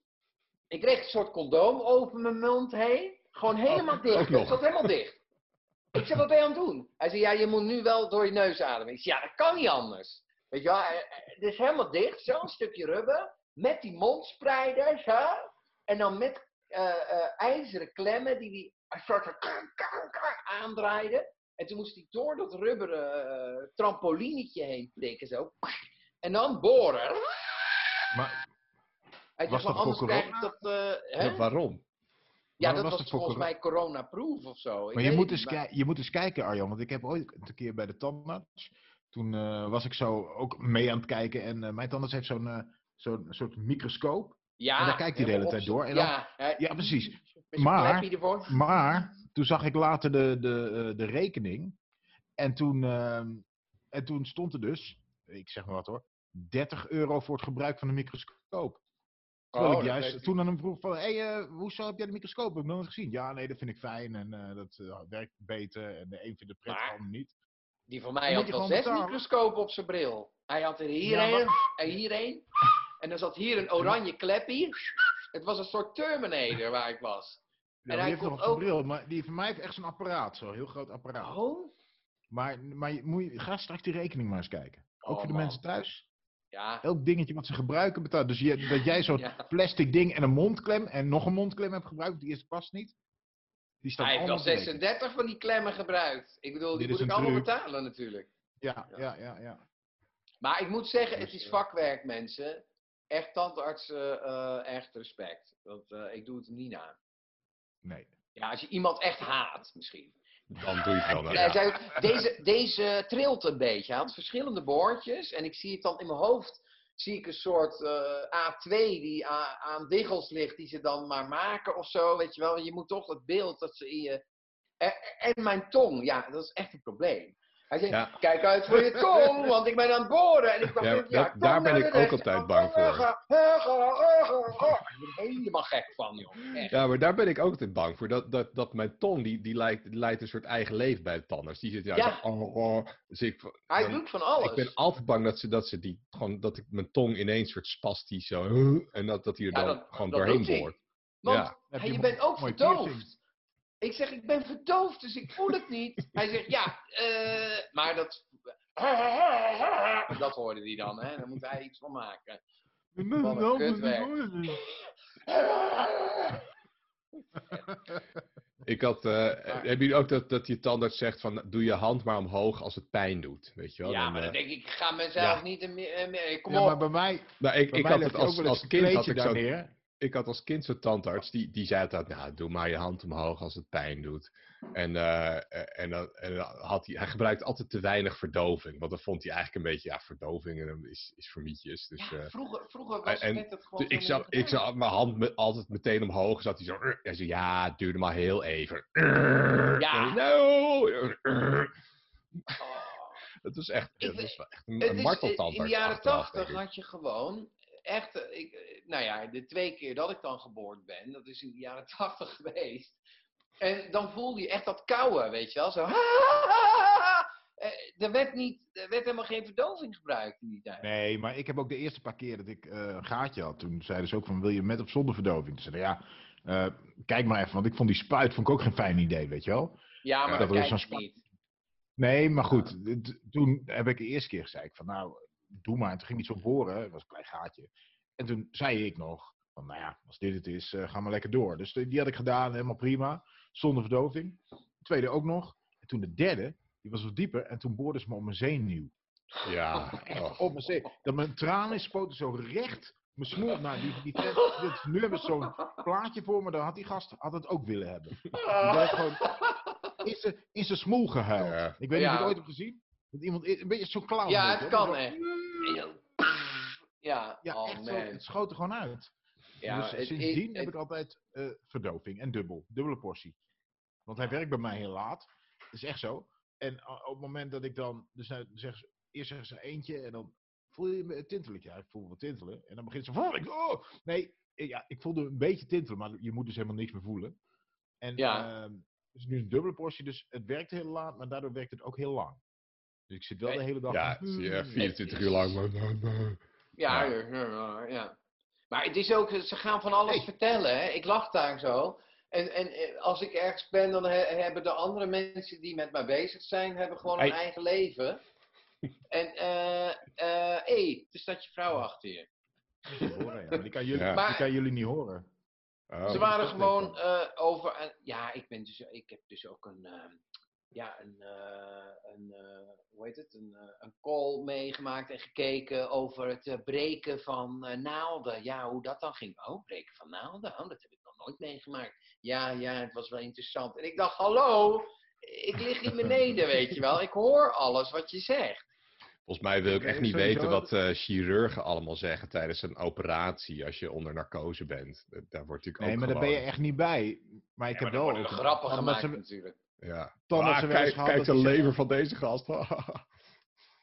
Speaker 1: Ik kreeg een soort condoom over mijn mond heen. Gewoon
Speaker 2: Oh,
Speaker 1: helemaal dicht.
Speaker 3: ook nog.
Speaker 1: Het zat helemaal dicht. Ik zei, wat ben je aan het doen? Hij zei, ja, je moet nu wel door je neus ademen. Ik zei, ja, dat kan niet anders. Weet je wel, eh, eh, het is helemaal dicht. Zo'n stukje rubber. Met die mondspreider, zo. En dan met eh, eh, ijzeren klemmen die die een soort van kang, kang, kang aandraaiden. En toen moest hij door dat rubberen eh, trampolinetje heen prikken, zo. En dan boren.
Speaker 2: Maar
Speaker 1: Hij
Speaker 2: Was
Speaker 1: zegt, maar
Speaker 2: dat voor
Speaker 1: anders krijg ik dat... eh, hè?
Speaker 3: Ja, Waarom?
Speaker 1: ja, dat
Speaker 2: waarom was
Speaker 1: was,
Speaker 2: dat voor
Speaker 1: volgens
Speaker 2: corona?
Speaker 1: mij corona-proof of zo. Ik
Speaker 2: maar je,
Speaker 1: weet
Speaker 2: moet
Speaker 1: het
Speaker 2: eens
Speaker 1: niet, maar-
Speaker 2: kij- je moet eens kijken, Arjan. Want ik heb ooit een keer bij de tandarts. Toen eh, was ik zo ook mee aan het kijken. En eh, mijn tandarts heeft zo'n eh, zo'n soort microscoop.
Speaker 1: Ja,
Speaker 2: en dan kijkt hij de hele
Speaker 1: helemaal
Speaker 2: tijd door en
Speaker 1: opzo- ja, hè,
Speaker 2: Ja, precies.
Speaker 1: met zo'n
Speaker 2: maar-
Speaker 1: klepje ervoor.
Speaker 2: Maar toen zag ik later de, de, eh, de rekening. En toen, ehm, en toen stond er dus, ik zeg maar wat hoor, 30 euro voor het gebruik van de microscoop. Terwijl
Speaker 1: Oh,
Speaker 2: ik
Speaker 1: dat
Speaker 2: juist
Speaker 1: weet-
Speaker 2: toen aan hem vroeg van, hé, hey, eh, hoezo heb jij de microscoop? Heb ik nog nooit gezien. Ja, nee, dat vind ik fijn en eh, dat eh, werkt beter en de een vindt het prettig, de
Speaker 1: Maar-
Speaker 2: ander niet.
Speaker 1: Die van mij
Speaker 2: Dan
Speaker 1: had
Speaker 2: moet je
Speaker 1: wel
Speaker 2: gewoon
Speaker 1: zes
Speaker 2: betalen.
Speaker 1: microscopen op zijn bril. Hij had er hierheen
Speaker 2: Ja,
Speaker 1: en hierheen. En dan zat hier een oranje klepje. Het was een soort Terminator waar ik was.
Speaker 2: Ja,
Speaker 1: En
Speaker 2: maar
Speaker 1: hij
Speaker 2: die heeft nog
Speaker 1: komt
Speaker 2: een
Speaker 1: ook-
Speaker 2: bril, maar die van mij heeft echt zo'n apparaat, zo'n heel groot apparaat.
Speaker 1: Oh?
Speaker 2: Maar, maar je, moet je, ga straks die rekening maar eens kijken. Ook
Speaker 1: Oh,
Speaker 2: voor de
Speaker 1: man.
Speaker 2: mensen thuis.
Speaker 1: Ja.
Speaker 2: elk dingetje wat ze gebruiken betaalt. Dus je, dat jij zo'n
Speaker 1: Ja.
Speaker 2: plastic ding en een mondklem en nog een mondklem hebt gebruikt, die is past niet. Die staat
Speaker 1: Hij heeft
Speaker 2: allemaal
Speaker 1: wel
Speaker 2: te rekenen.
Speaker 1: 36 van die klemmen gebruikt. Ik bedoel, die
Speaker 2: Dit is
Speaker 1: moet ik
Speaker 2: een
Speaker 1: allemaal
Speaker 2: truc.
Speaker 1: betalen natuurlijk.
Speaker 2: Ja, ja, ja, ja.
Speaker 1: Maar ik moet zeggen,
Speaker 2: Dus,
Speaker 1: het is
Speaker 2: eh,
Speaker 1: vakwerk, mensen. Echt tandartsen, eh echt respect. Want eh, ik doe het hem niet na.
Speaker 2: Nee.
Speaker 1: Ja, als je iemand echt haat, misschien.
Speaker 3: Dan doe je het wel. nou,
Speaker 1: Ja, hij
Speaker 3: ja.
Speaker 1: zei ook, Eh, deze, deze trilt een beetje. Hij had verschillende boordjes. En ik zie het dan in mijn hoofd. Zie ik een soort eh, A2 die a- aan diggels ligt. Die ze dan maar maken of zo. Weet je wel. Je moet toch het beeld dat ze in je... En, en mijn tong. Ja, dat is echt een probleem. Hij zegt,
Speaker 3: Ja.
Speaker 1: kijk uit voor je tong, want ik ben aan het boren. En ik dacht,
Speaker 3: Ja,
Speaker 1: ja,
Speaker 3: dat-
Speaker 1: kom
Speaker 3: daar ben
Speaker 1: naar
Speaker 3: ik
Speaker 1: de
Speaker 3: ook
Speaker 1: rest.
Speaker 3: altijd
Speaker 1: Oh,
Speaker 3: bang voor.
Speaker 1: oh, oh, oh, oh, oh, oh. Ik ben helemaal gek van, joh. Echt.
Speaker 3: Ja, maar daar ben ik ook altijd bang voor. Dat, dat, dat mijn tong, die, die, leidt, die leidt een soort eigen leven bij de tandarts. Die zit ja,
Speaker 1: Ja.
Speaker 3: zo, oh, oh. Dus ik,
Speaker 1: Hij
Speaker 3: dan-
Speaker 1: doet van alles.
Speaker 3: ik ben altijd bang dat ze, dat ze die, gewoon, dat ik mijn tong ineens soort spastisch zo, en dat, dat die er
Speaker 1: Ja,
Speaker 3: dan
Speaker 1: dat-
Speaker 3: gewoon
Speaker 1: dat
Speaker 3: doorheen
Speaker 1: doet hij.
Speaker 3: boort.
Speaker 1: Want
Speaker 3: Ja.
Speaker 2: Heb
Speaker 1: hij-
Speaker 2: je
Speaker 1: je
Speaker 2: een
Speaker 1: bent ook
Speaker 2: mooie
Speaker 1: verdoofd.
Speaker 2: piercing?
Speaker 1: Ik zeg, ik ben verdoofd, dus ik voel het niet. Hij zegt, ja, eh, maar dat... Dat hoorde hij dan, hè. Daar moet hij iets van maken. Wat een kutwerk.
Speaker 3: Ik had, eh hebben jullie ook dat, dat je tandarts zegt van, doe je hand maar omhoog als het pijn doet, weet je wel?
Speaker 1: Ja,
Speaker 3: Dan,
Speaker 1: maar
Speaker 3: eh,
Speaker 1: dan denk ik, ik ga mezelf
Speaker 3: ja.
Speaker 1: niet... een meer- een meer- Kom
Speaker 2: Ja, maar
Speaker 1: op.
Speaker 2: bij mij,
Speaker 3: nou, ik,
Speaker 2: bij
Speaker 3: ik
Speaker 2: mij
Speaker 3: had
Speaker 2: legt hij
Speaker 3: het
Speaker 2: ook
Speaker 3: als,
Speaker 2: wel eens
Speaker 3: als
Speaker 2: een
Speaker 3: kind had
Speaker 2: kleedje
Speaker 3: ik
Speaker 2: daar
Speaker 3: zo'n
Speaker 2: neer.
Speaker 3: ik had als kind zo'n tandarts, die, die zei altijd, nou, doe maar je hand omhoog als het pijn doet. En, eh, eh, en, dan, en dan had hij, hij gebruikte altijd te weinig verdoving, want dan vond hij eigenlijk een beetje, ja, verdoving eh, is, is voor mietjes. Dus, eh,
Speaker 1: Ja, vroeger, vroeger was het
Speaker 3: en-
Speaker 1: net het gewoon...
Speaker 3: dus ik,
Speaker 1: zo
Speaker 3: zag,
Speaker 1: niet
Speaker 3: ik
Speaker 1: gedaan.
Speaker 3: zag mijn hand me- altijd meteen omhoog, zat hij zo, "Ur." hij zei, ja, het duurde maar heel even.
Speaker 1: Ja.
Speaker 3: Nou,
Speaker 1: Oh.
Speaker 3: dat was echt,
Speaker 1: Ik
Speaker 3: dat
Speaker 1: weet-
Speaker 3: was wel echt een,
Speaker 1: Het
Speaker 3: een
Speaker 1: is- eh,
Speaker 3: marteltandarts.
Speaker 1: In de jaren
Speaker 3: achteraf,
Speaker 1: tachtig
Speaker 3: denk ik.
Speaker 1: had je gewoon echt, eh, ik, eh, nou ja, de twee keer dat ik dan geboord ben, dat is in de jaren tachtig geweest. En dan voelde je echt dat kauwen, weet je wel, zo. Eh, Er werd, niet, er werd helemaal geen verdoving gebruikt in die tijd.
Speaker 2: Nee, maar ik heb ook de eerste paar keer dat ik eh, een gaatje had. Toen zeiden ze ook van, wil je met of zonder verdoving? Toen zeiden ja, eh, kijk maar even. Want ik vond die spuit vond ik ook geen fijn idee, weet je wel.
Speaker 1: ja, maar
Speaker 2: dat
Speaker 1: dat
Speaker 2: was
Speaker 1: kijk
Speaker 2: zo'n
Speaker 1: ik
Speaker 2: spa-
Speaker 1: niet.
Speaker 2: Nee, maar goed. t- Toen heb ik de eerste keer gezegd van, nou, doe maar. En toen ging niet zo boren. Het was een klein gaatje. En toen zei ik nog, van, nou ja, als dit het is, eh, ga maar lekker door. Dus die die had ik gedaan, helemaal prima. Zonder verdoving. De tweede ook nog. En toen de derde, die was wat dieper. En toen boorden ze me om mijn zenuw.
Speaker 3: Ja,
Speaker 2: Echt
Speaker 3: oh.
Speaker 2: op mijn zee. Dat mijn tranen spoten zo recht mijn smoel. Nou, die, die vent, dit- nu hebben we zo'n plaatje voor me. Dan had die gast had het ook willen hebben. Die werd gewoon in zijn- in zijn smoel gehuild.
Speaker 3: Ja.
Speaker 2: Ik weet niet of je
Speaker 1: Ja.
Speaker 2: het ooit hebt gezien. Dat iemand een beetje zo'n clown.
Speaker 1: Ja,
Speaker 2: weet
Speaker 1: het
Speaker 2: je wel.
Speaker 1: kan
Speaker 2: Die
Speaker 1: echt.
Speaker 2: zo-
Speaker 1: Ja,
Speaker 2: Ja,
Speaker 1: oh
Speaker 2: echt zo.
Speaker 1: man.
Speaker 2: Het schoot er gewoon uit.
Speaker 1: Ja,
Speaker 2: dus
Speaker 1: het-
Speaker 2: sindsdien
Speaker 1: het-
Speaker 2: heb ik altijd eh, verdoving en dubbel. Dubbele portie. Want hij werkt bij mij heel laat. Dat is echt zo. En a- op het moment dat ik dan... Dus nou, zeggen ze- eerst zeggen ze eentje en dan voel je me tintelen. Ja, ik voel me tintelen. En dan begint ze van... Ik, oh! Nee, eh, ja, ik voelde een beetje tintelen, maar je moet dus helemaal niks meer voelen. En
Speaker 1: Ja.
Speaker 2: ehm, het is nu een dubbele portie, dus het werkt heel laat, maar daardoor werkt het ook heel lang. Dus ik zit wel de
Speaker 1: Nee.
Speaker 2: hele dag...
Speaker 3: ja,
Speaker 2: van,
Speaker 3: zie je,
Speaker 2: "Hmm."
Speaker 3: 24 uur lang.
Speaker 1: Ja,
Speaker 3: Ja.
Speaker 1: ja. ja, ja. Maar het is ook, ze gaan van alles vertellen. Hè? Ik lach daar zo. En, en eh, als ik ergens ben, dan he- hebben de andere mensen die met mij bezig zijn, hebben gewoon een
Speaker 3: Hey.
Speaker 1: eigen leven. En eh, eh, hé, het is dat je vrouw achter je.
Speaker 2: Horen, ja, maar die, kan jullie,
Speaker 3: Ja.
Speaker 2: die kan jullie niet horen.
Speaker 3: Oh.
Speaker 1: Ze waren
Speaker 2: dat denk ik
Speaker 1: gewoon eh, over. en- ja, ik, ben dus, ik heb dus ook een. ehm, ja, een. eh, een eh, hoe heet het? Een, eh, een call meegemaakt en gekeken over het eh, breken van eh, naalden. Ja, hoe dat dan ging. Oh, breken van naalden. Oh, dat heb ik nog nooit meegemaakt. Ja, ja, het was wel interessant. En ik dacht, hallo. Ik lig hier beneden, weet je wel. Ik hoor alles wat je zegt.
Speaker 3: Volgens mij wil ik
Speaker 2: Ik
Speaker 3: echt
Speaker 2: weet
Speaker 3: niet
Speaker 2: sowieso
Speaker 3: weten wat
Speaker 2: dat-
Speaker 3: eh, chirurgen allemaal zeggen tijdens een operatie als je onder narcose bent. Da- Daar wordt natuurlijk
Speaker 2: Nee,
Speaker 3: ook
Speaker 2: maar daar ben
Speaker 3: gewoon-
Speaker 2: je echt niet bij. Maar ik
Speaker 3: Ja,
Speaker 2: heb
Speaker 3: maar
Speaker 2: wel...
Speaker 3: dan
Speaker 2: ook-
Speaker 1: Grappig
Speaker 2: omdat
Speaker 1: gemaakt
Speaker 2: ze-
Speaker 1: natuurlijk.
Speaker 3: Ja.
Speaker 2: tandartsen wel eens
Speaker 3: Ah, kijk,
Speaker 2: gehad
Speaker 3: kijk
Speaker 2: dat eh, die
Speaker 3: de lever
Speaker 2: zeggen-
Speaker 3: van deze gast.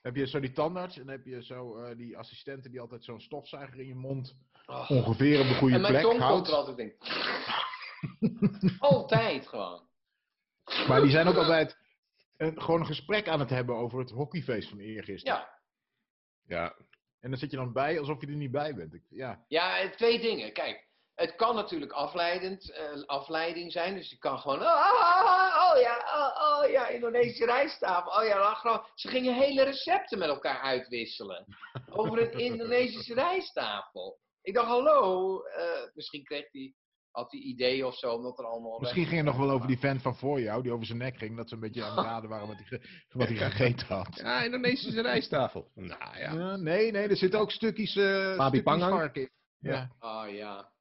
Speaker 2: Heb je zo die tandarts en dan heb je zo eh, die assistenten die altijd zo'n stofzuiger in je mond
Speaker 1: Oh.
Speaker 2: ongeveer op de goede
Speaker 1: En mijn
Speaker 2: plek
Speaker 1: tong komt
Speaker 2: houdt.
Speaker 1: er altijd in. altijd gewoon.
Speaker 2: Maar die zijn ook altijd een, gewoon een gesprek aan het hebben over het hockeyfeest van eergisteren.
Speaker 1: Ja.
Speaker 3: ja.
Speaker 2: En dan zit je dan bij alsof je er niet bij bent. Ik, ja,
Speaker 1: ja, eh, twee dingen. Kijk, het kan natuurlijk afleidend, eh, afleiding zijn. Dus je kan gewoon, oh, oh, oh, oh, ja, oh, oh ja, Indonesische rijsttafel. Oh ja, dan gewoon. Ze gingen hele recepten met elkaar uitwisselen. Over een Indonesische rijsttafel. Ik dacht, hallo, eh, misschien kreeg hij, had hij ideeën of zo, omdat er allemaal...
Speaker 2: misschien ging het nog wel over die vent van voor jou, die over zijn nek ging, dat ze een beetje aan het raden waren wat hij, ge- wat hij gegeten had.
Speaker 3: ja, Indonesische rijsttafel. Nou ja.
Speaker 2: Ja, nee, nee, er zitten ook stukjes, eh stukjes
Speaker 3: Pangang?
Speaker 2: varken in.
Speaker 3: Ja.
Speaker 2: Ja.
Speaker 1: Oh ja.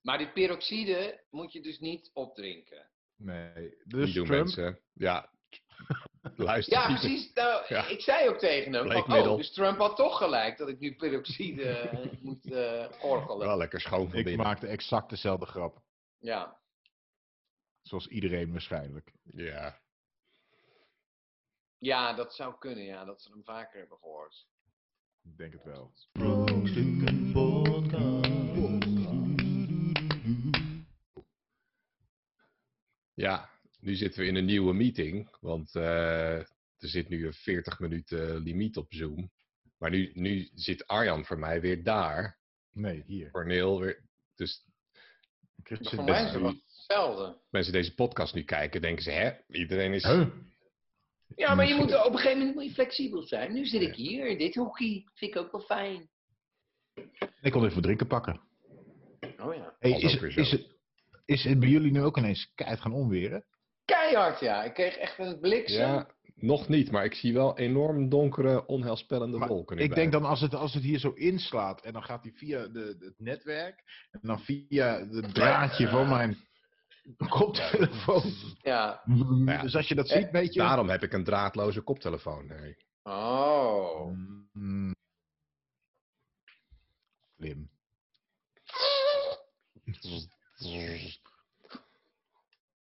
Speaker 1: Maar die peroxide moet je dus niet opdrinken.
Speaker 2: Nee,
Speaker 3: die
Speaker 2: dus
Speaker 3: doen
Speaker 2: Trump,
Speaker 3: mensen. Ja. Luister.
Speaker 1: Ja,
Speaker 3: niet.
Speaker 1: precies. Nou,
Speaker 3: Ja.
Speaker 1: ik zei ook tegen hem. Van,
Speaker 3: Bleekmiddel.
Speaker 1: oh, dus Trump had toch gelijk dat ik nu peroxide eh, moet eh gorgelen.
Speaker 3: Wel lekker schoon van
Speaker 2: ik
Speaker 3: binnen.
Speaker 2: maakte exact dezelfde grap.
Speaker 1: Ja.
Speaker 2: Zoals iedereen waarschijnlijk.
Speaker 3: Ja.
Speaker 1: Ja, dat zou kunnen, ja, dat ze hem vaker hebben gehoord.
Speaker 2: Ik denk het wel.
Speaker 4: Brokstukken podcast.
Speaker 3: Ja, nu zitten we in een nieuwe meeting, want eh, er zit nu een 40 minuten limiet op Zoom. Maar nu, nu zit Arjan voor mij weer daar.
Speaker 2: Nee, hier. dus
Speaker 3: Corneel weer. Dus
Speaker 2: Chris
Speaker 1: Maar
Speaker 2: zit
Speaker 1: voor
Speaker 2: daar.
Speaker 1: mij is het wel hetzelfde.
Speaker 3: mensen deze podcast nu kijken, denken ze, hè, iedereen is...
Speaker 2: Huh?
Speaker 1: Ja, maar je moet, op een gegeven moment moet je flexibel zijn. Nu zit ik hier, in dit hoekje. Vind ik ook wel fijn.
Speaker 2: Ik kon even drinken pakken.
Speaker 1: Oh ja.
Speaker 2: Hey,
Speaker 3: Was
Speaker 2: is,
Speaker 3: ook weer
Speaker 2: is,
Speaker 3: zo.
Speaker 2: het, is het bij jullie nu ook ineens keihard gaan onweren?
Speaker 1: Keihard, ja. Ik kreeg echt een bliksem.
Speaker 3: Ja, nog niet, maar ik zie wel enorm donkere, onheilspellende
Speaker 2: Maar
Speaker 3: wolken. nu
Speaker 2: Ik denk
Speaker 3: bij.
Speaker 2: dan als het, als het hier zo inslaat en dan gaat hij via de, het netwerk en dan via het draadje van mijn koptelefoon.
Speaker 1: Ja.
Speaker 3: ja.
Speaker 2: Dus als je dat ziet, weet je...
Speaker 3: Daarom heb ik een draadloze koptelefoon. Nee.
Speaker 1: Oh.
Speaker 2: Mm. Slim.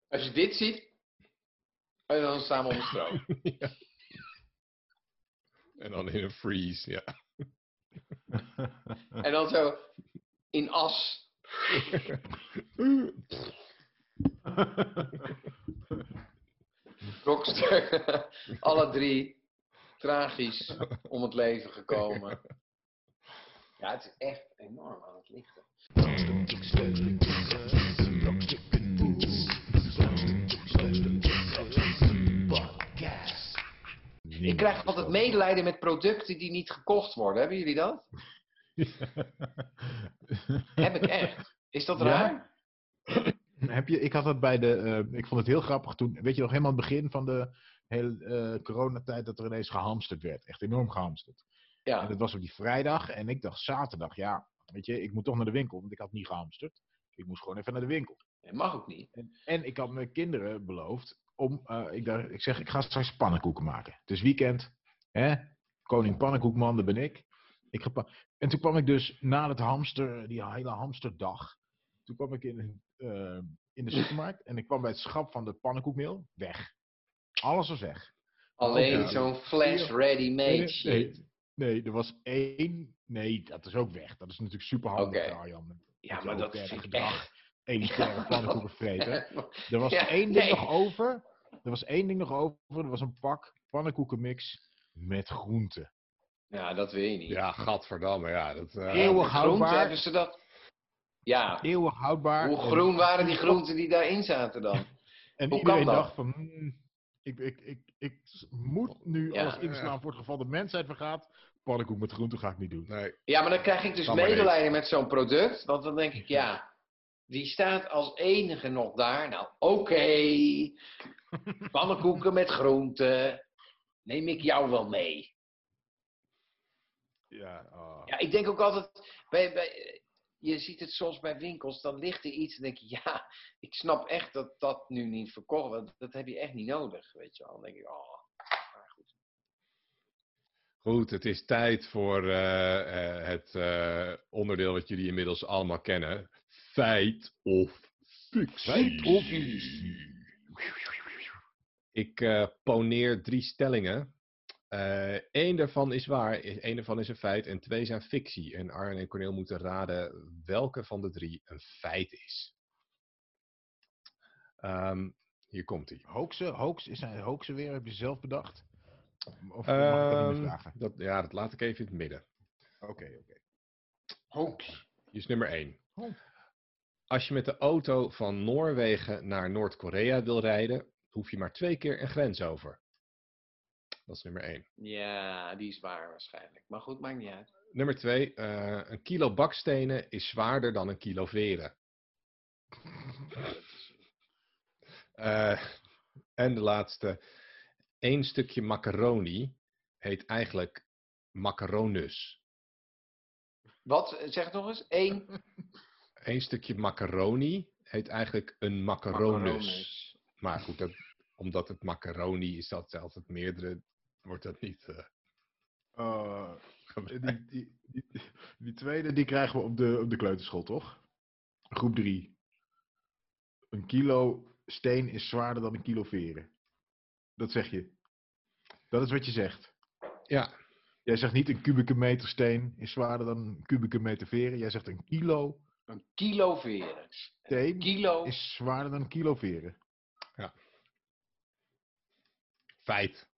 Speaker 1: Als je dit ziet, en dan staan we onder stroom.
Speaker 3: En dan in een freeze, ja.
Speaker 1: en dan zo in as. Rockster. Alle drie tragisch om het leven gekomen. Ja, het is echt enorm aan het lichten. Ik krijg altijd medelijden met producten die niet gekocht worden. Hebben jullie dat? Heb ik echt. Is dat
Speaker 2: Ja?
Speaker 1: raar?
Speaker 2: Heb je, ik had dat bij de. eh, ik vond het heel grappig toen. Weet je nog helemaal aan het begin van de hele eh, coronatijd dat er ineens gehamsterd werd. Echt enorm gehamsterd. En
Speaker 1: Ja.
Speaker 2: dat was op die vrijdag. En ik dacht zaterdag, ja, weet je, ik moet toch naar de winkel. Want ik had niet gehamsterd. Ik moest gewoon even naar de winkel.
Speaker 1: Nee, mag ook niet.
Speaker 2: En ik had mijn kinderen beloofd om. eh, ik, dacht, ik zeg, ik ga straks pannenkoeken maken. Het is weekend. Hè? Koning Pannenkoekman, dat ben ik. ik ga pa- en toen kwam ik dus na het hamster, die hele hamsterdag. Toen kwam ik in, eh, in de supermarkt en ik kwam bij het schap van de pannenkoekmeel. Weg. Alles was weg.
Speaker 1: Alleen
Speaker 3: ja.
Speaker 1: zo'n flash ready-made
Speaker 2: Oh, Nee,
Speaker 1: shit.
Speaker 2: nee, nee, er was één. Nee, dat is ook weg. Dat is natuurlijk super handig,
Speaker 1: Oké.
Speaker 2: Arjan.
Speaker 1: Ja, maar dat
Speaker 2: is
Speaker 1: vind ik echt.
Speaker 2: Elitaire pannenkoeken vreten. Er was
Speaker 1: Ja,
Speaker 2: één ding
Speaker 1: nee.
Speaker 2: nog over. Er was één ding nog over. Er was een pak pannenkoekenmix met groenten.
Speaker 1: Ja, dat wil je niet.
Speaker 3: Ja, gadverdamme, ja. Dat, eh,
Speaker 1: Ja,
Speaker 2: Eeuwig
Speaker 1: met groenten
Speaker 2: houdbaar.
Speaker 1: hebben ze dat. Ja,
Speaker 2: Eeuwig houdbaar.
Speaker 1: hoe
Speaker 2: En-
Speaker 1: groen waren die groenten die daarin zaten dan?
Speaker 2: En
Speaker 1: hoe kan
Speaker 2: iedereen
Speaker 1: dat?
Speaker 2: dacht van... "Hmm, ik, ik, ik, ik s- moet nu
Speaker 1: Ja.
Speaker 2: alles inslaan voor het geval de mensheid vergaat. Pannenkoek met groenten ga ik niet doen.
Speaker 3: nee.
Speaker 1: Ja, maar dan krijg ik dus
Speaker 3: Kan maar niet.
Speaker 1: medelijden met zo'n product. Want dan denk ik, ja, die staat als enige nog daar. Nou, oké. Pannenkoeken met groenten. Neem ik jou wel mee.
Speaker 2: Ja, ah.
Speaker 1: Ja, ik denk ook altijd, bij, bij, je ziet het soms bij winkels, dan ligt er iets en denk je, ja, ik snap echt dat dat nu niet verkocht wordt. Dat heb je echt niet nodig, weet je wel. Dan denk ik, oh, maar goed.
Speaker 3: Goed, het is tijd voor eh, eh, het eh, onderdeel wat jullie inmiddels allemaal kennen. Feit of fictie.
Speaker 2: Feit of
Speaker 3: Ik eh, poneer drie stellingen. Eén daarvan is waar, één daarvan is een feit en twee zijn fictie. En Arjen en Corneel moeten raden welke van de drie een feit is. Ehm, hier komt hij.
Speaker 2: Hoaxen? Hoax? Is hij hoaxen weer? Heb je ze zelf bedacht? Of mag ik dat
Speaker 3: Ehm.
Speaker 2: niet meer vragen?
Speaker 3: dat, ja, dat laat ik even in het midden.
Speaker 2: Oké, oké.
Speaker 1: Hoax.
Speaker 3: Hier is nummer 1.
Speaker 2: Oh.
Speaker 3: Als je met de auto van Noorwegen naar Noord-Korea wil rijden, hoef je maar twee keer een grens over. Dat is nummer 1.
Speaker 1: Ja, die is waar waarschijnlijk. Maar goed, maakt niet uit.
Speaker 3: Nummer 2. een kilo bakstenen is zwaarder dan een kilo veren. Eh, en de laatste. Eén stukje macaroni heet eigenlijk macaronus.
Speaker 1: Wat, eh, zeg het nog eens, één.
Speaker 3: Eén stukje macaroni heet eigenlijk een macaronus.
Speaker 1: Macaronus.
Speaker 3: Maar goed, dat, omdat het macaroni is, dat altijd meerdere, wordt dat niet. eh,
Speaker 2: Eh, die, die, die, die tweede die krijgen we op de, op de kleuterschool, toch? Groep 3. Een kilo steen is zwaarder dan een kilo veren. Dat zeg je. Dat is wat je zegt.
Speaker 3: Ja.
Speaker 2: Jij zegt niet een kubieke meter steen is zwaarder dan een kubieke meter veren. Jij zegt een kilo
Speaker 1: Een kilo veren.
Speaker 2: steen
Speaker 1: Kilo.
Speaker 2: is zwaarder dan een kilo veren.
Speaker 3: Feit.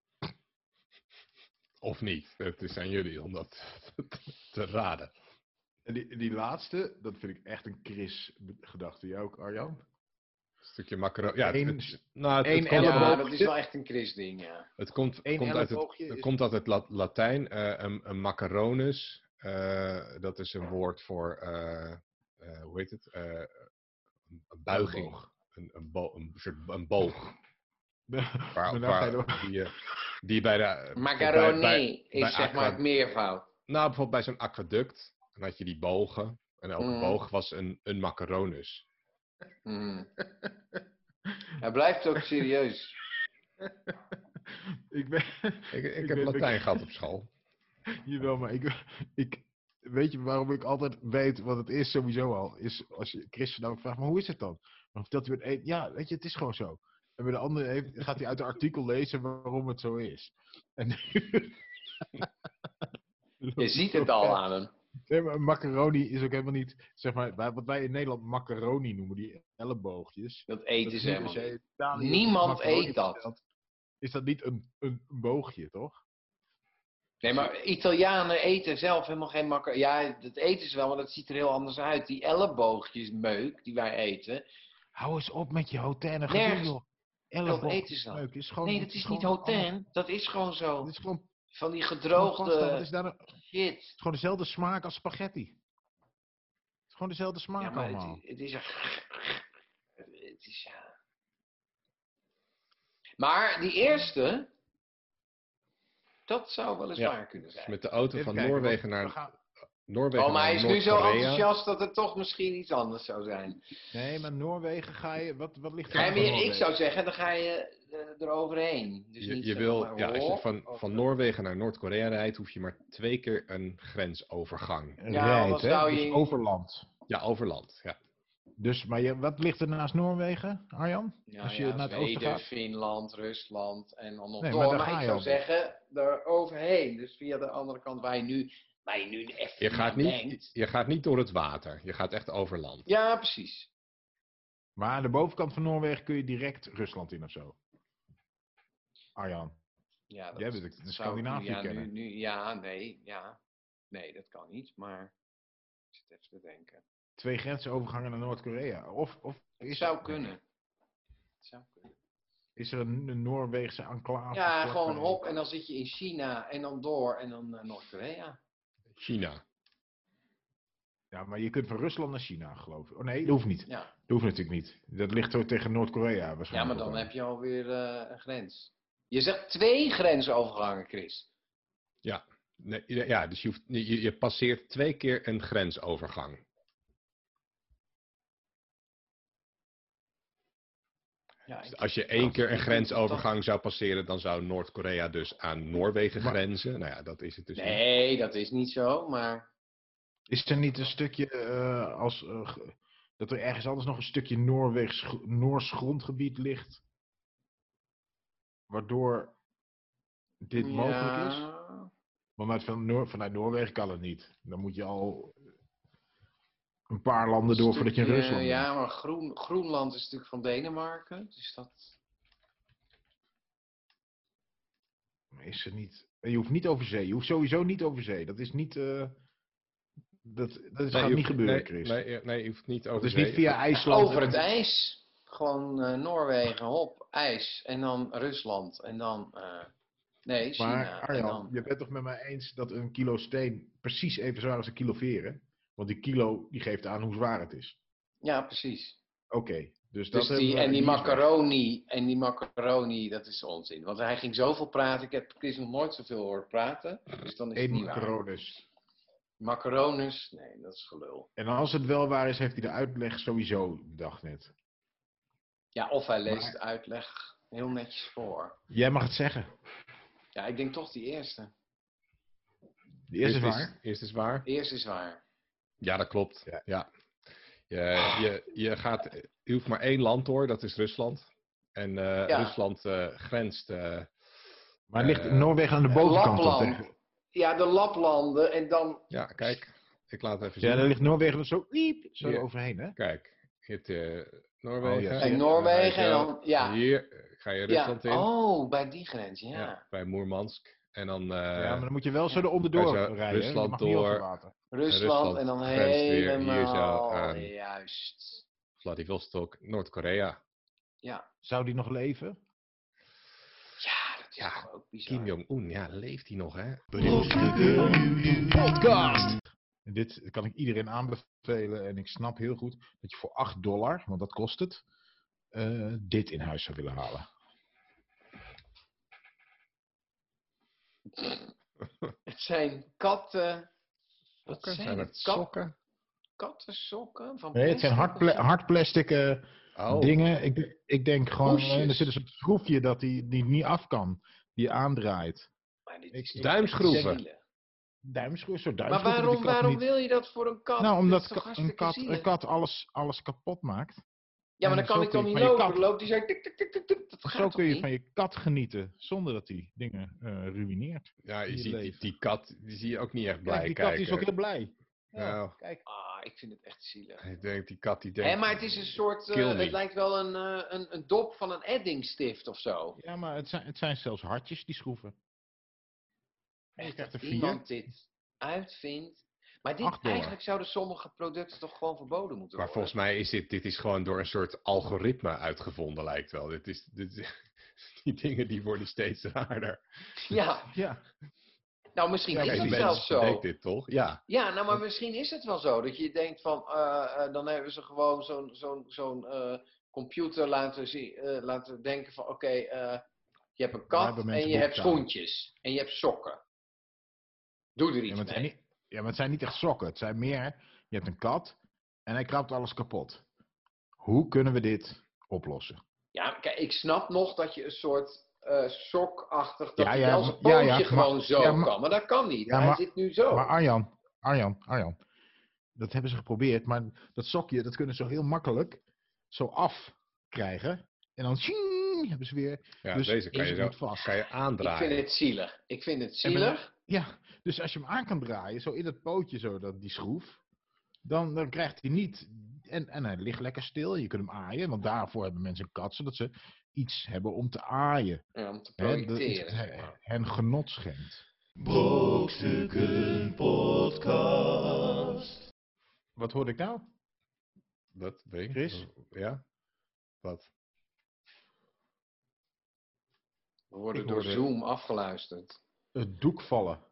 Speaker 3: Of niet. Het is aan jullie om dat te raden.
Speaker 2: En die, die laatste, dat vind ik echt een Chris-gedachte. Jij ook, Arjan?
Speaker 3: stukje macaroni. Ja, het-
Speaker 2: Eén-
Speaker 3: het, nou, het,
Speaker 2: één
Speaker 3: het komt,
Speaker 2: elleboog.
Speaker 1: ja,
Speaker 3: uit-
Speaker 1: dat is wel echt een Chris-ding, ja.
Speaker 3: het komt,
Speaker 2: Eén
Speaker 3: komt uit het
Speaker 2: elleboogje
Speaker 3: Dat
Speaker 2: is-
Speaker 3: komt uit het La- Latijn. eh, een, een macaronus, eh, dat is een woord voor, eh, eh, hoe heet het? Eh, een een buiging. Een, een, bo- een soort een boog. Waar,
Speaker 2: Daarna
Speaker 3: waar-
Speaker 2: ga je door.
Speaker 3: die, eh, die bij de...
Speaker 1: Macaroni
Speaker 3: bij- bij-
Speaker 1: is
Speaker 3: bij
Speaker 1: zeg maar
Speaker 3: aqua-
Speaker 1: het meervoud.
Speaker 3: nou, bijvoorbeeld bij zo'n aquaduct. Dan had je die bogen. En elke
Speaker 1: Mm.
Speaker 3: boog was een, een macaronus.
Speaker 1: Mhm. Hij blijft ook serieus.
Speaker 2: Ik ben...
Speaker 3: Ik, ik,
Speaker 2: Ik
Speaker 3: heb
Speaker 2: weet-
Speaker 3: Latijn
Speaker 2: ik-
Speaker 3: gehad op school.
Speaker 2: Jawel, maar ik, ik... Weet je waarom ik altijd weet wat het is sowieso al? Is als je Chris dan vraagt, maar hoe is het dan? Dan vertelt hij met één... Ja, weet je, het is gewoon zo. En bij de andere heeft, gaat hij uit een artikel lezen waarom het zo is. En
Speaker 1: Je ziet het al aan hem.
Speaker 2: Nee, maar macaroni is ook helemaal niet... Zeg maar, wij- wat wij in Nederland macaroni noemen, die elleboogjes.
Speaker 1: Dat
Speaker 2: Dat dus
Speaker 1: eten
Speaker 2: is
Speaker 1: ze
Speaker 2: niet
Speaker 1: helemaal
Speaker 2: per se
Speaker 1: niet.
Speaker 2: Italië
Speaker 1: Niemand
Speaker 2: macaroni
Speaker 1: eet dat.
Speaker 2: bestelt. Is dat niet een, een, een boogje, toch?
Speaker 1: Nee, maar Italianen eten zelf helemaal geen macaroni. Ja, dat eten ze wel, maar dat ziet er heel anders uit. Die elleboogjesmeuk die wij eten,
Speaker 2: Hou eens op met je hotel en
Speaker 1: Nergens.
Speaker 2: gedoe,
Speaker 1: dat
Speaker 2: joh. Elleboog.
Speaker 1: eten ze dan.
Speaker 2: Leuk, is gewoon,
Speaker 1: Nee,
Speaker 2: het
Speaker 1: dat is
Speaker 2: gewoon
Speaker 1: niet hotel.
Speaker 2: allemaal-
Speaker 1: Dat is gewoon zo.
Speaker 2: Het is gewoon
Speaker 1: Van die
Speaker 2: gewoon pasta. Wat is
Speaker 1: gedroogde
Speaker 2: daar nou- Het
Speaker 1: shit.
Speaker 2: is gewoon dezelfde smaak als spaghetti. Het is gewoon dezelfde smaak
Speaker 1: Ja, maar
Speaker 2: allemaal.
Speaker 1: het, het is echt- Het is ja. Maar die eerste, dat zou wel eens
Speaker 3: Ja,
Speaker 1: waar kunnen
Speaker 3: Dus
Speaker 1: zijn.
Speaker 3: met de auto
Speaker 2: Even
Speaker 3: van
Speaker 2: kijken,
Speaker 3: Noorwegen
Speaker 2: want we
Speaker 3: naar
Speaker 2: gaan-
Speaker 3: Noorwegen
Speaker 1: Oh, maar hij
Speaker 3: naar
Speaker 1: is nu zo
Speaker 3: Noord-Korea.
Speaker 1: enthousiast dat het toch misschien iets anders zou zijn.
Speaker 2: Nee, maar Noorwegen ga je... Wat, wat ligt
Speaker 1: Ga je
Speaker 2: er aan
Speaker 1: weer- ik
Speaker 2: Noorwegen?
Speaker 1: zou zeggen, dan ga je eh, eroverheen. Dus
Speaker 3: je,
Speaker 1: niet
Speaker 3: je
Speaker 1: zo
Speaker 3: wil,
Speaker 1: maar,
Speaker 3: ja, als je
Speaker 1: hop,
Speaker 3: van,
Speaker 1: of-
Speaker 3: van Noorwegen naar Noord-Korea rijdt, hoef je maar twee keer een grensovergang.
Speaker 2: Een
Speaker 1: Ja,
Speaker 2: rijd,
Speaker 1: anders
Speaker 2: hè?
Speaker 1: zou
Speaker 2: Dus
Speaker 1: je-
Speaker 2: overland.
Speaker 3: Ja, overland. Ja.
Speaker 2: Dus, maar je, wat ligt er naast Noorwegen, Arjan?
Speaker 1: Nou
Speaker 2: als je
Speaker 1: ja,
Speaker 2: naar het oosten
Speaker 1: Zweden,
Speaker 2: gaat?
Speaker 1: Finland, Rusland en dan nog
Speaker 2: Nee,
Speaker 1: door.
Speaker 2: maar daar
Speaker 1: Maar,
Speaker 2: ga
Speaker 1: ik
Speaker 2: je
Speaker 1: zou
Speaker 2: al.
Speaker 1: zeggen, daar overheen. Dus via de andere kant waar je nu, waar je nu echt
Speaker 3: Je, gaat
Speaker 1: aan
Speaker 3: niet,
Speaker 1: denkt.
Speaker 3: je gaat niet door het water. Je gaat echt overland.
Speaker 1: Ja, precies.
Speaker 2: Maar aan de bovenkant van Noorwegen kun je direct Rusland in of zo. Arjan.
Speaker 1: Ja,
Speaker 2: Jij bent de
Speaker 1: zou ik nu-
Speaker 2: Scandinavië
Speaker 1: ja, nu-
Speaker 2: kennen.
Speaker 1: nu- ja, nee, ja. Nee, dat kan niet, maar ik zit even te denken.
Speaker 2: Twee grensovergangen naar Noord-Korea. Of, of
Speaker 1: Het
Speaker 2: is,
Speaker 1: zou kunnen. Het zou kunnen.
Speaker 2: is er een, een Noorweegse enclave?
Speaker 1: Ja,
Speaker 2: vlakbij?
Speaker 1: gewoon hop en dan zit je in China en dan door en dan naar Noord-Korea.
Speaker 3: China.
Speaker 2: Ja, maar je kunt van Rusland naar China, geloof ik. Oh nee, dat hoeft niet.
Speaker 1: Ja.
Speaker 2: Dat hoeft natuurlijk niet. Dat ligt zo tegen Noord-Korea waarschijnlijk.
Speaker 1: ja, maar dan heb je alweer eh, een grens. Je zegt twee grensovergangen, Chris.
Speaker 3: Nee, ja, dus je, hoeft, je, je passeert twee keer een grensovergang.
Speaker 1: Ja,
Speaker 3: Dus
Speaker 1: ik-
Speaker 3: Als je één keer een
Speaker 1: ik-
Speaker 3: grensovergang zou passeren, dan zou Noord-Korea dus aan Noorwegen
Speaker 2: Maar-
Speaker 3: grenzen. Nou ja, dat is het dus. niet.
Speaker 1: Nee, dat is niet zo, maar
Speaker 2: Is er niet een stukje eh, als... eh, ge- dat er ergens anders nog een stukje Noorweegs, gr- Noors grondgebied ligt? Waardoor dit mogelijk is?
Speaker 1: Ja,
Speaker 2: Want uit van Noor- vanuit Noorwegen kan het niet. Dan moet je al een paar landen door voordat je in
Speaker 1: stukje,
Speaker 2: Rusland bent.
Speaker 1: Ja, maar Groen, Groenland is natuurlijk van Denemarken, dus dat...
Speaker 2: Maar Is er niet. en Je hoeft niet over zee. Je hoeft sowieso niet over zee. Dat is niet. eh, dat dat
Speaker 3: Nee,
Speaker 2: gaat
Speaker 3: je
Speaker 2: niet
Speaker 3: hoeft-
Speaker 2: gebeuren,
Speaker 3: nee,
Speaker 2: Chris.
Speaker 3: Nee, je- nee, je hoeft niet over
Speaker 2: dat is niet
Speaker 3: zee.
Speaker 2: via IJsland.
Speaker 1: Over het
Speaker 2: en-
Speaker 1: ijs. Gewoon eh, Noorwegen, hop, ijs. En dan Rusland. En dan... eh, nee, China.
Speaker 2: Maar
Speaker 1: en
Speaker 2: Arjan,
Speaker 1: dan,
Speaker 2: je bent toch met mij eens dat een kilo steen precies even zwaar is als een kilo veren? Want die kilo die geeft aan hoe zwaar het is.
Speaker 1: ja, precies.
Speaker 2: Oké. Dus dat
Speaker 1: Dus die,
Speaker 2: hebben we-
Speaker 1: en die
Speaker 2: is weg.
Speaker 1: macaroni, en die macaroni, dat is onzin. Want hij ging zoveel praten. Ik heb Chris nog nooit zoveel horen praten. Dus dan is het
Speaker 2: Eén
Speaker 1: niet waar.
Speaker 2: macaronis.
Speaker 1: Macaronus, nee, dat is gelul.
Speaker 2: En als het wel waar is, heeft hij de uitleg sowieso bedacht net.
Speaker 1: Ja, of hij leest
Speaker 2: Maar-
Speaker 1: de uitleg heel netjes voor.
Speaker 2: Jij mag het zeggen.
Speaker 1: Ja, ik denk toch die eerste.
Speaker 2: De eerste is
Speaker 3: Eerst
Speaker 2: waar.
Speaker 3: Eerst is waar.
Speaker 1: De eerste is waar.
Speaker 3: Ja, dat klopt. Ja.
Speaker 2: Ja.
Speaker 3: Je, je, je, gaat, je hoeft maar één land door, dat is Rusland. En eh,
Speaker 1: Ja.
Speaker 3: Rusland eh, grenst eh,
Speaker 2: Maar ligt
Speaker 3: Eh,
Speaker 2: Noorwegen aan de bovenkant? of
Speaker 1: Lapland.
Speaker 2: tegen-
Speaker 1: Ja, de Laplanden en dan...
Speaker 3: Ja, kijk. Ik laat het even zien.
Speaker 2: Ja, daar ligt Noorwegen zo, iep, zo
Speaker 3: Ja.
Speaker 2: overheen, hè?
Speaker 3: Kijk, je hebt eh, Noorwegen.
Speaker 2: Oh, ja.
Speaker 1: En
Speaker 3: Dan
Speaker 1: Noorwegen en
Speaker 3: ga je-
Speaker 1: dan... Ja,
Speaker 3: Hier eh, ga je
Speaker 1: ja.
Speaker 3: Rusland in.
Speaker 1: Oh, bij die grens, ja.
Speaker 3: ja. bij Moermansk. En dan eh,
Speaker 2: ja, maar dan moet je wel zo eronder door
Speaker 3: Kijk, zo,
Speaker 2: rijden. hè? Je
Speaker 3: Rusland
Speaker 2: mag niet over
Speaker 3: door.
Speaker 2: water.
Speaker 1: Rusland,
Speaker 3: Rusland
Speaker 1: en dan
Speaker 3: grenst weer hier zo
Speaker 1: helemaal...
Speaker 3: aan.
Speaker 1: Juist.
Speaker 3: Vladivostok, Noord-Korea.
Speaker 2: Zou die nog leven?
Speaker 1: Ja, Ah, dat is
Speaker 3: Ja,
Speaker 1: toch ook bizar.
Speaker 3: Kim Jong-un, ja, leeft hij nog, hè?
Speaker 2: Podcast! En dit kan ik iedereen aanbevelen en ik snap heel goed dat je voor 8 dollar, want dat kost het, eh, dit in huis zou willen halen.
Speaker 1: Het zijn katten... Wat
Speaker 3: Sokken?
Speaker 1: zijn,
Speaker 3: Zijn
Speaker 1: het?
Speaker 3: het sokken?
Speaker 1: Katten sokken? Van
Speaker 2: Nee, het zijn hard, pla-
Speaker 1: plastic of zo?
Speaker 2: hard plastic eh,
Speaker 3: Oh,
Speaker 2: dingen. Ik, ik denk gewoon, eh, er
Speaker 1: Hoesjes.
Speaker 2: zit een soort schroefje dat die, die niet af kan, die je aandraait.
Speaker 1: Maar dit
Speaker 2: Ik-
Speaker 1: is echt
Speaker 3: duimschroeven.
Speaker 1: zielig.
Speaker 2: Duimschroef, zo
Speaker 1: Maar
Speaker 2: duimschroef.
Speaker 1: waarom, waarom wil je dat voor een kat?
Speaker 2: Nou,
Speaker 1: Dat
Speaker 2: omdat
Speaker 1: is toch
Speaker 2: ka- een
Speaker 1: hartstikke
Speaker 2: kat,
Speaker 1: zielig?
Speaker 2: een kat alles, alles kapot maakt.
Speaker 1: Ja, maar dan
Speaker 2: Ja,
Speaker 1: kan
Speaker 2: zo
Speaker 1: ik dan
Speaker 2: kun je
Speaker 1: niet
Speaker 2: van je
Speaker 1: lopen.
Speaker 2: kat-
Speaker 1: Dan loopt hij zo... Tik, tik, tik, tik, tik. Dat gaat
Speaker 2: Zo
Speaker 1: toch
Speaker 2: kun je
Speaker 1: niet?
Speaker 2: van je kat genieten zonder dat die dingen eh ruïneert.
Speaker 3: ja, je
Speaker 2: Hier
Speaker 3: ziet die,
Speaker 2: leven.
Speaker 3: die kat, die zie je ook niet echt blij
Speaker 2: Kijk, die kat
Speaker 3: kijken.
Speaker 2: die is ook heel blij. Ja,
Speaker 3: Nou.
Speaker 2: kijk.
Speaker 1: Ah, ik vind het echt zielig.
Speaker 3: Ik denk, die kat die denkt...
Speaker 1: Hè, maar het is een soort... eh,
Speaker 3: Kill me.
Speaker 1: het lijkt wel een, eh, een, een dop van een eddingstift of zo.
Speaker 2: ja maar het zijn, het zijn zelfs hartjes, die schroeven. Ja, je
Speaker 1: Echt
Speaker 2: krijgt
Speaker 1: dat
Speaker 2: er vier.
Speaker 1: iemand dit uitvindt. Maar dit,
Speaker 2: Acht dollar.
Speaker 1: eigenlijk zouden sommige producten toch gewoon verboden moeten
Speaker 3: Maar
Speaker 1: worden.
Speaker 3: volgens mij is dit, dit is gewoon door een soort algoritme uitgevonden, lijkt wel. Dit is, dit is- die dingen die worden steeds raarder.
Speaker 1: Ja,
Speaker 2: Ja,
Speaker 1: nou misschien
Speaker 3: Kijk,
Speaker 1: is
Speaker 3: die
Speaker 1: het
Speaker 3: mensen
Speaker 1: zelfs zo.
Speaker 3: denken dit toch? Ja,
Speaker 1: Ja, nou maar misschien is het wel zo. Dat je denkt van, eh, eh, dan hebben ze gewoon zo'n zo'n zo'n eh, computer laten, zien, eh, laten denken van, oké, eh, je hebt een
Speaker 2: Waar
Speaker 1: kat
Speaker 2: hebben
Speaker 1: en
Speaker 2: mensen
Speaker 1: je hebt
Speaker 2: behoefte aan?
Speaker 1: schoentjes. En je hebt sokken. Doe er
Speaker 2: ja,
Speaker 1: iets
Speaker 2: maar het zijn
Speaker 1: mee.
Speaker 2: niet, ja, maar het zijn niet echt sokken. Het zijn meer, je hebt een kat en hij krabt alles kapot. Hoe kunnen we dit oplossen?
Speaker 1: Ja, kijk, ik snap nog dat je een soort eh, sokachtig, dat
Speaker 2: Ja,
Speaker 1: je
Speaker 2: ja,
Speaker 1: zelfs een
Speaker 2: ja,
Speaker 1: pootje
Speaker 2: ja, maar-
Speaker 1: gewoon zo
Speaker 2: ja, maar-
Speaker 1: kan. Maar dat kan niet.
Speaker 2: Ja,
Speaker 1: Hij
Speaker 2: maar-
Speaker 1: zit nu zo.
Speaker 2: Maar Arjan, Arjan, Arjan. Dat hebben ze geprobeerd, maar dat sokje, dat kunnen ze heel makkelijk zo afkrijgen. En dan tjing, hebben ze weer,
Speaker 3: ja
Speaker 2: dus
Speaker 3: deze kan
Speaker 2: is
Speaker 3: je,
Speaker 2: het
Speaker 3: zo,
Speaker 2: niet vast.
Speaker 3: kan je
Speaker 1: ik
Speaker 3: aandraaien.
Speaker 1: vind het zielig. Ik vind het
Speaker 2: En met-
Speaker 1: zielig.
Speaker 2: Ja, dus als je hem aan kan draaien, zo in dat pootje, zo dat, die schroef, dan, dan krijgt hij niet. En, en hij ligt lekker stil, je kunt hem aaien, want daarvoor hebben mensen een kat, zodat ze iets hebben om te aaien.
Speaker 1: Ja, om te
Speaker 2: Hè, dat iets
Speaker 1: projecteren. zeg maar.
Speaker 2: hen genot schenkt.
Speaker 4: Brokstukken Podcast.
Speaker 2: Wat hoorde ik nou?
Speaker 3: Dat weet ik.
Speaker 2: Chris?
Speaker 3: Ja? Wat?
Speaker 1: We worden
Speaker 2: Ik
Speaker 1: door
Speaker 2: hoorde-
Speaker 1: Zoom afgeluisterd.
Speaker 2: Het doek vallen.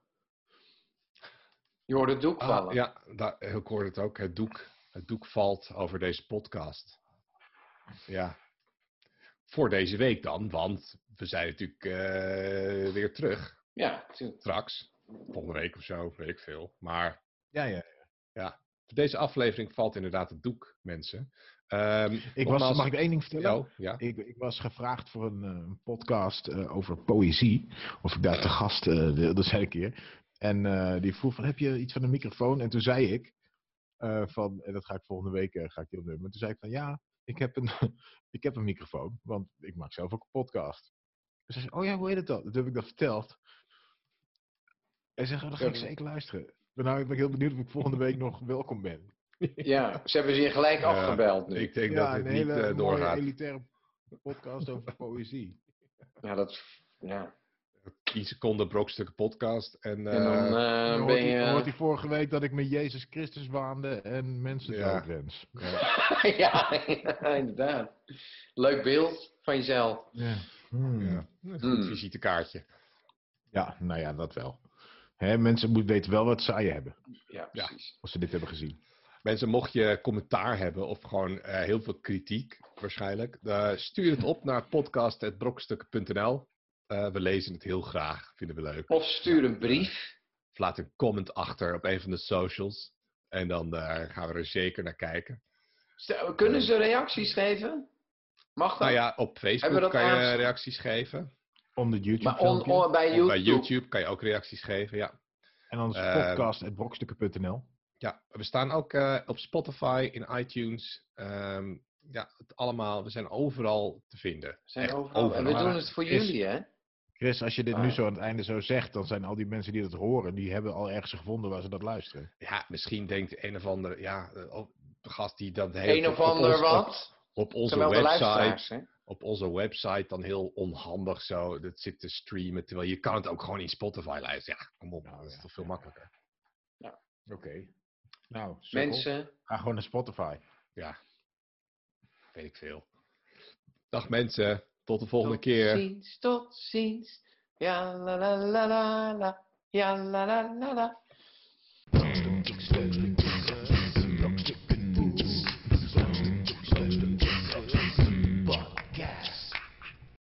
Speaker 1: Je hoort het doek vallen.
Speaker 3: Ah, ja, daar, ik hoorde het ook. Het doek, het doek valt over deze podcast. Ja. Voor deze week dan, want we zijn natuurlijk eh, weer terug.
Speaker 1: Ja, tuurlijk.
Speaker 3: Straks. Volgende week of zo, weet ik veel. Maar
Speaker 2: Ja, ja.
Speaker 3: voor deze aflevering valt inderdaad het doek, mensen. Ehm,
Speaker 2: Ik was,
Speaker 3: nogmaals-
Speaker 2: mag ik één ding vertellen?
Speaker 3: Oh, ja.
Speaker 2: Ik, ik was gevraagd voor een eh, podcast eh, over poëzie. Of ik daar te gast eh, wilde zijn een keer. En eh, die vroeg van, heb je iets van de microfoon? En toen zei ik, eh, van, en dat ga ik volgende week eh, ga ik die opnemen. Maar toen zei ik van, ja, ik heb een, ik heb een microfoon. Want ik maak zelf ook een podcast. Toen zei ze, oh ja, hoe heet het dan? Toen heb ik dat verteld. En ze zei, oh, dan ga ik
Speaker 1: Ja.
Speaker 2: zeker luisteren. Maar nou ben ik heel benieuwd of ik volgende week nog welkom ben.
Speaker 1: ja, ze hebben ze je gelijk
Speaker 3: Ja,
Speaker 1: afgebeld nu.
Speaker 3: Ik denk
Speaker 2: ja,
Speaker 3: dat het
Speaker 2: een
Speaker 3: niet
Speaker 2: hele
Speaker 3: eh,
Speaker 2: mooie
Speaker 3: doorgaat.
Speaker 2: elitaire podcast over poëzie.
Speaker 1: Ja, dat... Ja.
Speaker 3: 10 seconden brokstukken podcast. En,
Speaker 1: en dan
Speaker 3: eh,
Speaker 1: eh,
Speaker 2: Dan hoort,
Speaker 1: ben
Speaker 2: hij,
Speaker 1: je...
Speaker 2: dan hoort hij vorige week dat ik me Jezus Christus waande en mensen
Speaker 3: Ja.
Speaker 2: doodwens.
Speaker 1: ja, inderdaad. Leuk beeld van jezelf.
Speaker 2: Ja. Hmm.
Speaker 3: ja,
Speaker 2: Ja.
Speaker 3: een
Speaker 1: Hmm.
Speaker 3: goed visitekaartje.
Speaker 2: nou ja, dat wel. Hè, mensen moeten weten wel wat ze aan je hebben,
Speaker 1: Ja, precies.
Speaker 2: als ze dit hebben gezien.
Speaker 3: Mensen, mocht je commentaar hebben of gewoon eh, heel veel kritiek, waarschijnlijk, eh, stuur het op naar podcast.brokstukken.nl. Eh, we lezen het heel graag, vinden we leuk.
Speaker 1: Of stuur een brief.
Speaker 3: Of laat een comment achter op een van de socials. En dan eh, gaan we er zeker naar kijken.
Speaker 1: Stel, Kunnen ze reacties geven? Mag dat?
Speaker 3: Nou ja, op
Speaker 1: Hebben we
Speaker 3: Facebook
Speaker 1: dat
Speaker 3: kan je
Speaker 1: aange-
Speaker 3: reacties geven.
Speaker 2: Onder YouTube
Speaker 1: Maar on,
Speaker 2: filmpje.
Speaker 1: on- bij,
Speaker 3: Of
Speaker 1: YouTube.
Speaker 3: bij YouTube kan je ook reacties geven, ja.
Speaker 2: en dan is
Speaker 3: eh,
Speaker 2: podcast.brokstukken.nl.
Speaker 3: Ja, we staan ook eh, op Spotify, in iTunes. Ehm, ja, het allemaal. We zijn overal te vinden.
Speaker 1: Zijn
Speaker 3: Echt
Speaker 1: overal. En we
Speaker 3: overal.
Speaker 1: doen het voor
Speaker 3: Chris,
Speaker 1: jullie, hè?
Speaker 2: Chris, als je dit
Speaker 1: Ah.
Speaker 2: nu zo aan het einde zo zegt, dan zijn al die mensen die dat horen, die hebben al ergens gevonden waar ze dat luisteren.
Speaker 3: Ja, misschien denkt een of ander, ja, eh, oh, de gast die dat heeft.
Speaker 1: Een of
Speaker 3: op ons-
Speaker 1: ander
Speaker 3: op-
Speaker 1: wat.
Speaker 3: Op onze
Speaker 1: Zowel de
Speaker 3: website.
Speaker 1: luisteraars, hè?
Speaker 3: Op onze website dan heel onhandig zo. Dat zit te streamen. Terwijl je kan het ook gewoon in Spotify luisteren. Ja, kom op.
Speaker 2: Nou,
Speaker 3: dat is
Speaker 2: ja.
Speaker 3: toch veel makkelijker.
Speaker 2: Oké. Nou, mensen.
Speaker 1: Mensen,
Speaker 2: Ga gewoon naar Spotify.
Speaker 3: Weet ik veel. Dag mensen. Tot de volgende
Speaker 1: tot
Speaker 3: keer.
Speaker 1: ziens, tot ziens. Ja, la la la la la. Ja, la la la la.